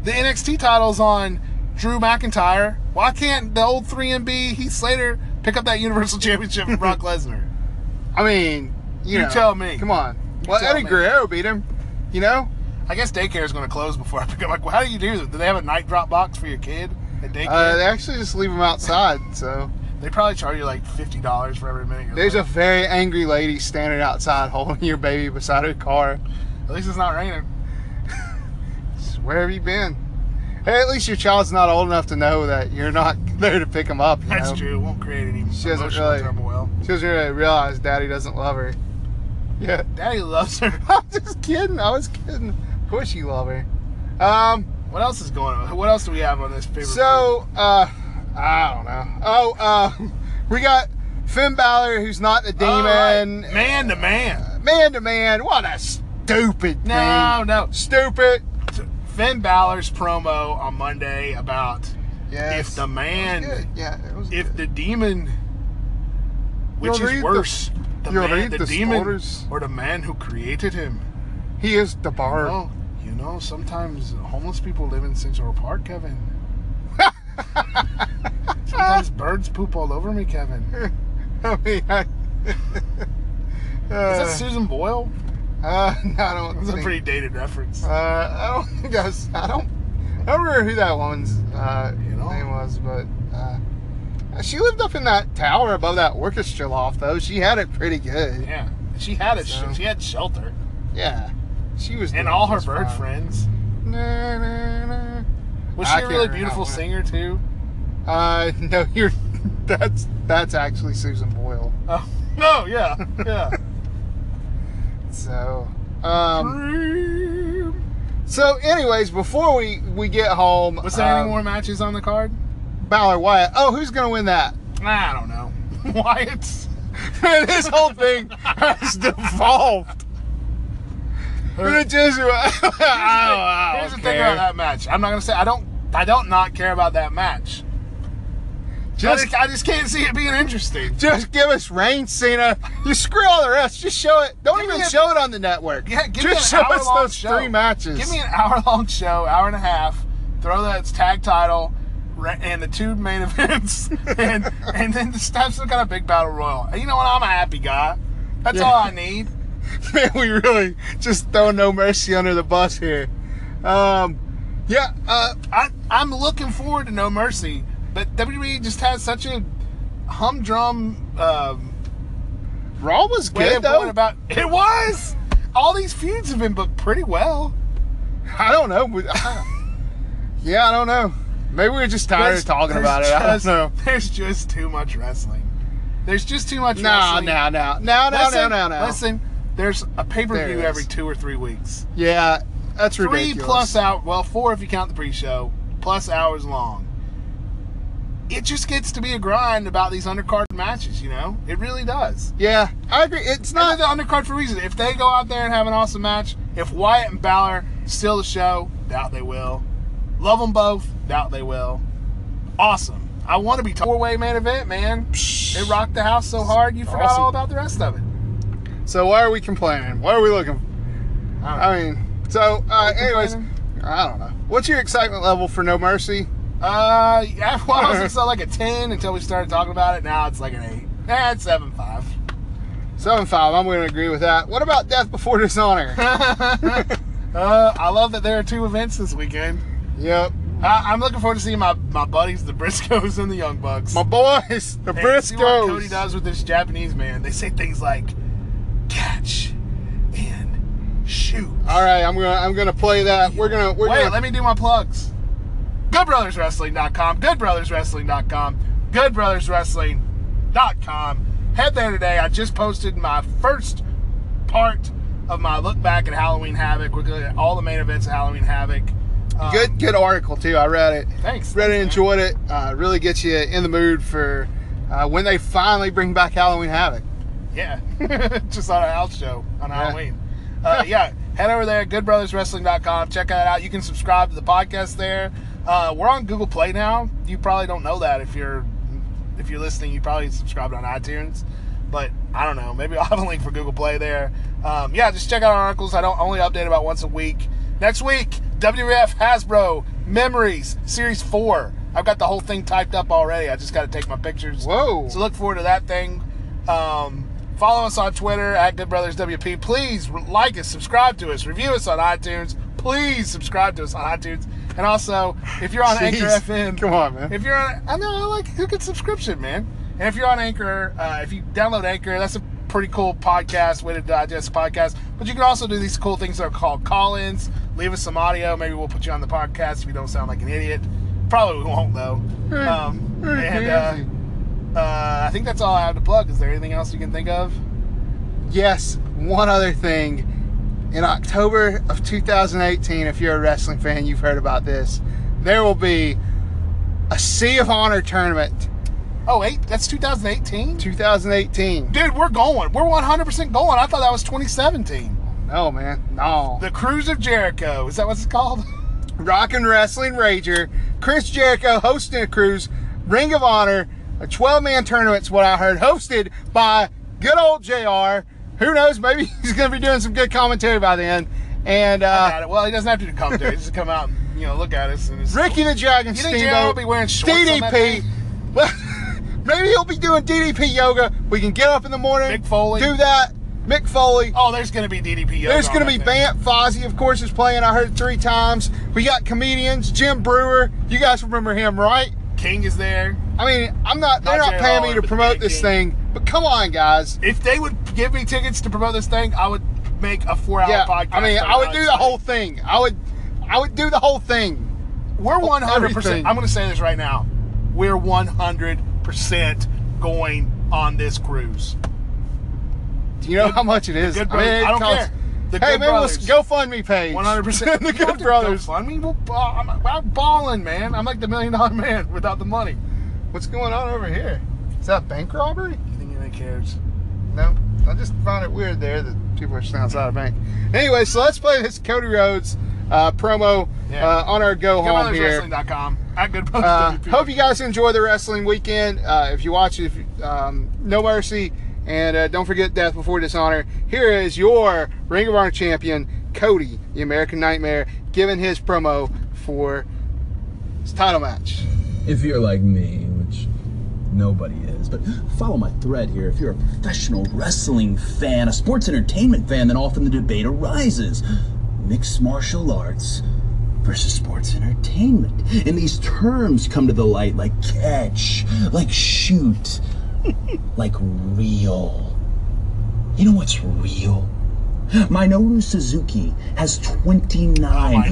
B: the NXT titles on Drew McIntyre. Why can't the old 3MB Heath Slater pick up that Universal Championship from Brock Lesnar?
A: I mean, you,
B: You
A: know,
B: tell me.
A: Come on. Well,
B: tell
A: Eddie
B: me.
A: Guerrero beat him. You know,
B: I guess daycare is going to close before I pick up. Like, well, how do you do that? Do they have a night drop box for your kid at daycare?
A: uh, they actually just leave him outside. So
B: they probably charge you like fifty dollars for every minute. You're
A: there's a
B: late.
A: very angry lady standing outside holding your baby beside her car.
B: At least it's not raining.
A: Where have you been? Hey, at least your child's not old enough to know that you're not there to pick him up. You
B: That's
A: know?
B: true. It won't create any
A: She doesn't
B: emotional
A: really-
B: turmoil.
A: She doesn't really realize daddy doesn't love her. Yeah,
B: Daddy loves her.
A: I'm just kidding. I was kidding. Of course you love her. Um,
B: What else is going on? What else do we have on this paper?
A: So, uh, I don't know. Oh, uh, we got Finn Balor, who's not the demon.
B: man to man.
A: Man to man. What a stupid
B: No, no.
A: thing. Stupid.
B: Finn Balor's promo on Monday about
A: Yes.
B: if the man,
A: Good. Yeah, it was
B: if
A: good.
B: the demon, which
A: You'll read
B: is
A: the-
B: worse, the,
A: you'll
B: man,
A: read
B: the
A: the
B: demon,
A: scores.
B: or the man who created him.
A: he is the bar.
B: Oh, you know, sometimes homeless people live in Central Park, Kevin.
A: Ah.
B: sometimes birds poop all over me, Kevin. Is
A: I mean, I,
B: that
A: uh,
B: Susan Boyle?
A: uh, no, I don't.
B: That's a
A: think-
B: pretty dated reference.
A: Uh, I don't think that's. I don't. I don't remember who that woman's uh,
B: You know?
A: name was, but uh, she lived up in that tower above that orchestra loft, though. She had it pretty good.
B: Yeah, she had a
A: So-
B: she had shelter
A: Yeah, she was.
B: and
A: doing
B: all her
A: just
B: bird
A: fine.
B: friends.
A: Na, na, na.
B: Was
A: I
B: she a
A: can't
B: really
A: remember.
B: beautiful singer too?
A: Uh, no, you're. That's that's actually Susan Boyle.
B: Oh no, yeah, yeah.
A: So, um,
B: Dream.
A: so anyways, before we we get home,
B: Was there
A: um,
B: any more matches on the card?
A: Balor Wyatt. Oh, who's gonna win that?
B: I don't know. Wyatt's.
A: Man, this whole thing has devolved. It just, Oh, I
B: Here's the
A: don't
B: thing
A: care.
B: about that match. I'm not gonna say I don't. I don't not care about that match. I,
A: Just,
B: just, I just can't see it being interesting.
A: just give us rain, Cena. You screw all the rest. Just show it. Don't
B: Give me
A: even
B: a-
A: show it on the network.
B: Yeah, give
A: just
B: me an
A: show
B: hour
A: us
B: long
A: those
B: show.
A: three matches.
B: Give me an hour long show, hour and a half. Throw that tag title ra- and the two main events, and and then just have some kind of big battle royal. And you know what? I'm a happy guy. That's
A: Yeah.
B: all I need.
A: Man, we really just throw no mercy under the bus here. Um, yeah, uh,
B: I, I'm looking forward to No Mercy, but WWE just has such a humdrum um,
A: Raw was
B: way
A: good
B: of going
A: though.
B: about. It was. All these feuds have been booked pretty well.
A: I don't know. We- yeah, I don't know. Maybe we were just tired
B: There's-
A: of talking
B: there's
A: about it. I don't
B: just-
A: know.
B: There's just too much wrestling. There's just too much
A: No,
B: wrestling.
A: no, no, no, no, no,
B: Listen,
A: no, no.
B: Listen, there's a pay per
A: There
B: view
A: is.
B: every two or three weeks.
A: Yeah, that's
B: Three
A: ridiculous.
B: plus out, well, four if you count the pre show, plus hours long. It just gets to be a grind about these undercard matches, you know? It really does.
A: Yeah, I agree. It's
B: Not
A: not.
B: the undercard for a reason. If they go out there and have an awesome match, if Wyatt and Balor steal the show, doubt they will. Love them both, doubt they will. Awesome. I want to be four way main event, man. It rocked the house so hard, you forgot
A: Awesome.
B: all about the rest of it.
A: So why are we complaining? What are we looking?
B: I don't know.
A: I mean, so uh,
B: we
A: anyways,
B: complaining?
A: I don't know. What's your excitement level for No Mercy?
B: Uh, yeah, well, I was still like a 10 until we started talking about it. Now it's like an 8. Eh, it's 7.5.
A: Seven five. I'm going to agree with that. What about Death Before Dishonor?
B: uh, I love that there are two events this weekend.
A: yep.
B: I, I'm looking forward to seeing my, my buddies, the Briscoes and the Young Bucks.
A: My boys, the
B: And see what Cody
A: Briscoes.
B: does with this Japanese man. They say things like catch and Shoot.
A: All right, I'm gonna I'm gonna play that. We're gonna we're
B: Wait,
A: gonna
B: let me do my plugs. GoodBrothersWrestling.com, GoodBrothersWrestling.com, GoodBrothersWrestling.com. Head there today. I just posted my first part of my look back at Halloween Havoc. We're going to all the main events of Halloween Havoc. Uh,
A: good good article too. I read it.
B: Thanks.
A: Really
B: Thanks, man.
A: enjoyed it. Uh, really gets you in the mood for uh, when they finally bring back Halloween Havoc.
B: Yeah, just on a house show on
A: Yeah.
B: Halloween. Uh, yeah, head over there, goodbrotherswrestling.com. Check that out. You can subscribe to the podcast there. Uh, we're on Google Play now. You probably don't know that if you're if you're listening. You probably subscribed on iTunes, but I don't know. Maybe I'll have a link for Google Play there. Um, yeah, just check out our articles. I don't only update about once a week. Next week, WWF Hasbro Memories Series Four. I've got the whole thing typed up already. I just got to take my pictures.
A: Whoa.
B: So look forward to that thing. Um, follow us on Twitter at Good Brothers WP. Please re- like us, subscribe to us, review us on iTunes. Please subscribe to us on iTunes. And also, if you're on Anchor
A: Jeez.
B: FM,
A: Come on, man.
B: If you're on, I know I like who gets subscription, man. And if you're on Anchor, uh, if you download Anchor, that's a pretty cool podcast way to digest a podcast. But you can also do these cool things that are called call-ins. Leave us some audio. Maybe we'll put you on the podcast if you don't sound like an idiot. Probably we won't though. Um,
A: Very
B: and uh,
A: crazy.
B: uh, I think that's all I have to plug. Is there anything else you can think of?
A: Yes, one other thing. In October of 2018, if you're a wrestling fan, you've heard about this. There will be a Sea of Honor tournament
B: Oh wait, that's 2018.
A: 2018.
B: Dude, we're going. We're 100% going. I thought that was 2017.
A: No, man. No.
B: The Cruise of Jericho. Is that what it's called?
A: Rock and Wrestling Rager, Chris Jericho hosting a cruise, Ring of Honor, a 12 man tournament's what I heard, hosted by good old JR. Who knows? Maybe he's going to be doing some good commentary by then. And
B: Got
A: uh,
B: it. well, he doesn't have to do commentary. Just come out and you know look at us. And it's,
A: Ricky the Dragon
B: You think
A: Steamboat,
B: JR will be wearing shorts on that
A: DDP.
B: day?
A: Well, maybe he'll be doing DDP yoga. We can get up in the morning,
B: Mick Foley.
A: do that. Mick Foley.
B: Oh, there's gonna be DDP. yoga
A: There's going
B: on
A: to be
B: that
A: Vamp
B: thing.
A: Fozzy, of course, is playing. I heard three times. We got comedians, Jim Brewer. You guys remember him, right?
B: King is there.
A: I mean, I'm not. They're
B: Not
A: not
B: Jerry
A: paying me
B: Lawler,
A: to
B: but
A: promote
B: Big
A: this
B: King.
A: thing, but come on, guys.
B: If they would give me tickets to promote this thing, I would make a four-hour
A: Yeah,
B: podcast.
A: I mean,
B: on
A: I would
B: it.
A: do the whole thing. I would, I would do the whole thing.
B: We're one hundred
A: Everything.
B: percent. I'm going to say this right now. We're one hundred percent going on this cruise.
A: Do you know how much it is?
B: Good
A: I, mean,
B: Brothers-
A: it
B: I don't
A: costs-
B: care. The
A: hey,
B: Good
A: maybe
B: Brothers.
A: let's go fund me page.
B: One hundred percent.
A: the Good Brothers.
B: I mean, we'll, ball- I'm, I'm balling, man. I'm like the million dollar man without the money.
A: What's going on over here? Is that a bank robbery?
B: You think anybody cares?
A: No, I just found it weird there that people are standing outside a bank. Anyway, so let's play this Cody Rhodes uh, promo
B: Yeah.
A: uh, on our go home here.
B: GoodBrothersWrestling.com. At Good Brothers
A: Uh,
B: WP.
A: hope you guys enjoy the wrestling weekend. Uh, if you watch it, if, you- um, No Mercy, and uh, don't forget Death Before Dishonor. Here is your Ring of Honor champion, Cody, the American Nightmare, giving his promo for his title match.
C: if you're like me, which nobody is, but follow my thread here. If you're a professional wrestling fan, a sports entertainment fan, then often the debate arises mixed martial arts versus sports entertainment. And these terms come to the light like catch, like shoot, like real. You know what's real? Minoru Suzuki has 29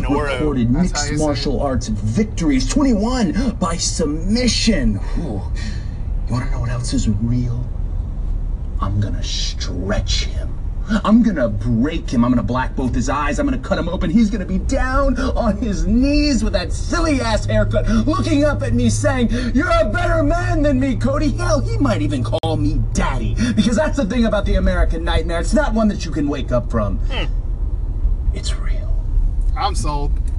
B: Minoru.
A: That's
C: recorded
A: how you
C: mixed
A: say it.
C: martial arts victories, 21 by submission. Whew. You want to know what else is real? I'm gonna stretch him. I'm gonna break him. I'm gonna black both his eyes. I'm gonna cut him open. He's gonna be down on his knees with that silly ass haircut, looking up at me saying, You're a better man than me, Cody. Hell, he might even call me daddy. Because that's the thing about the American
A: Hmm.
C: nightmare. It's not one that you can wake up from. It's real.
A: I'm sold.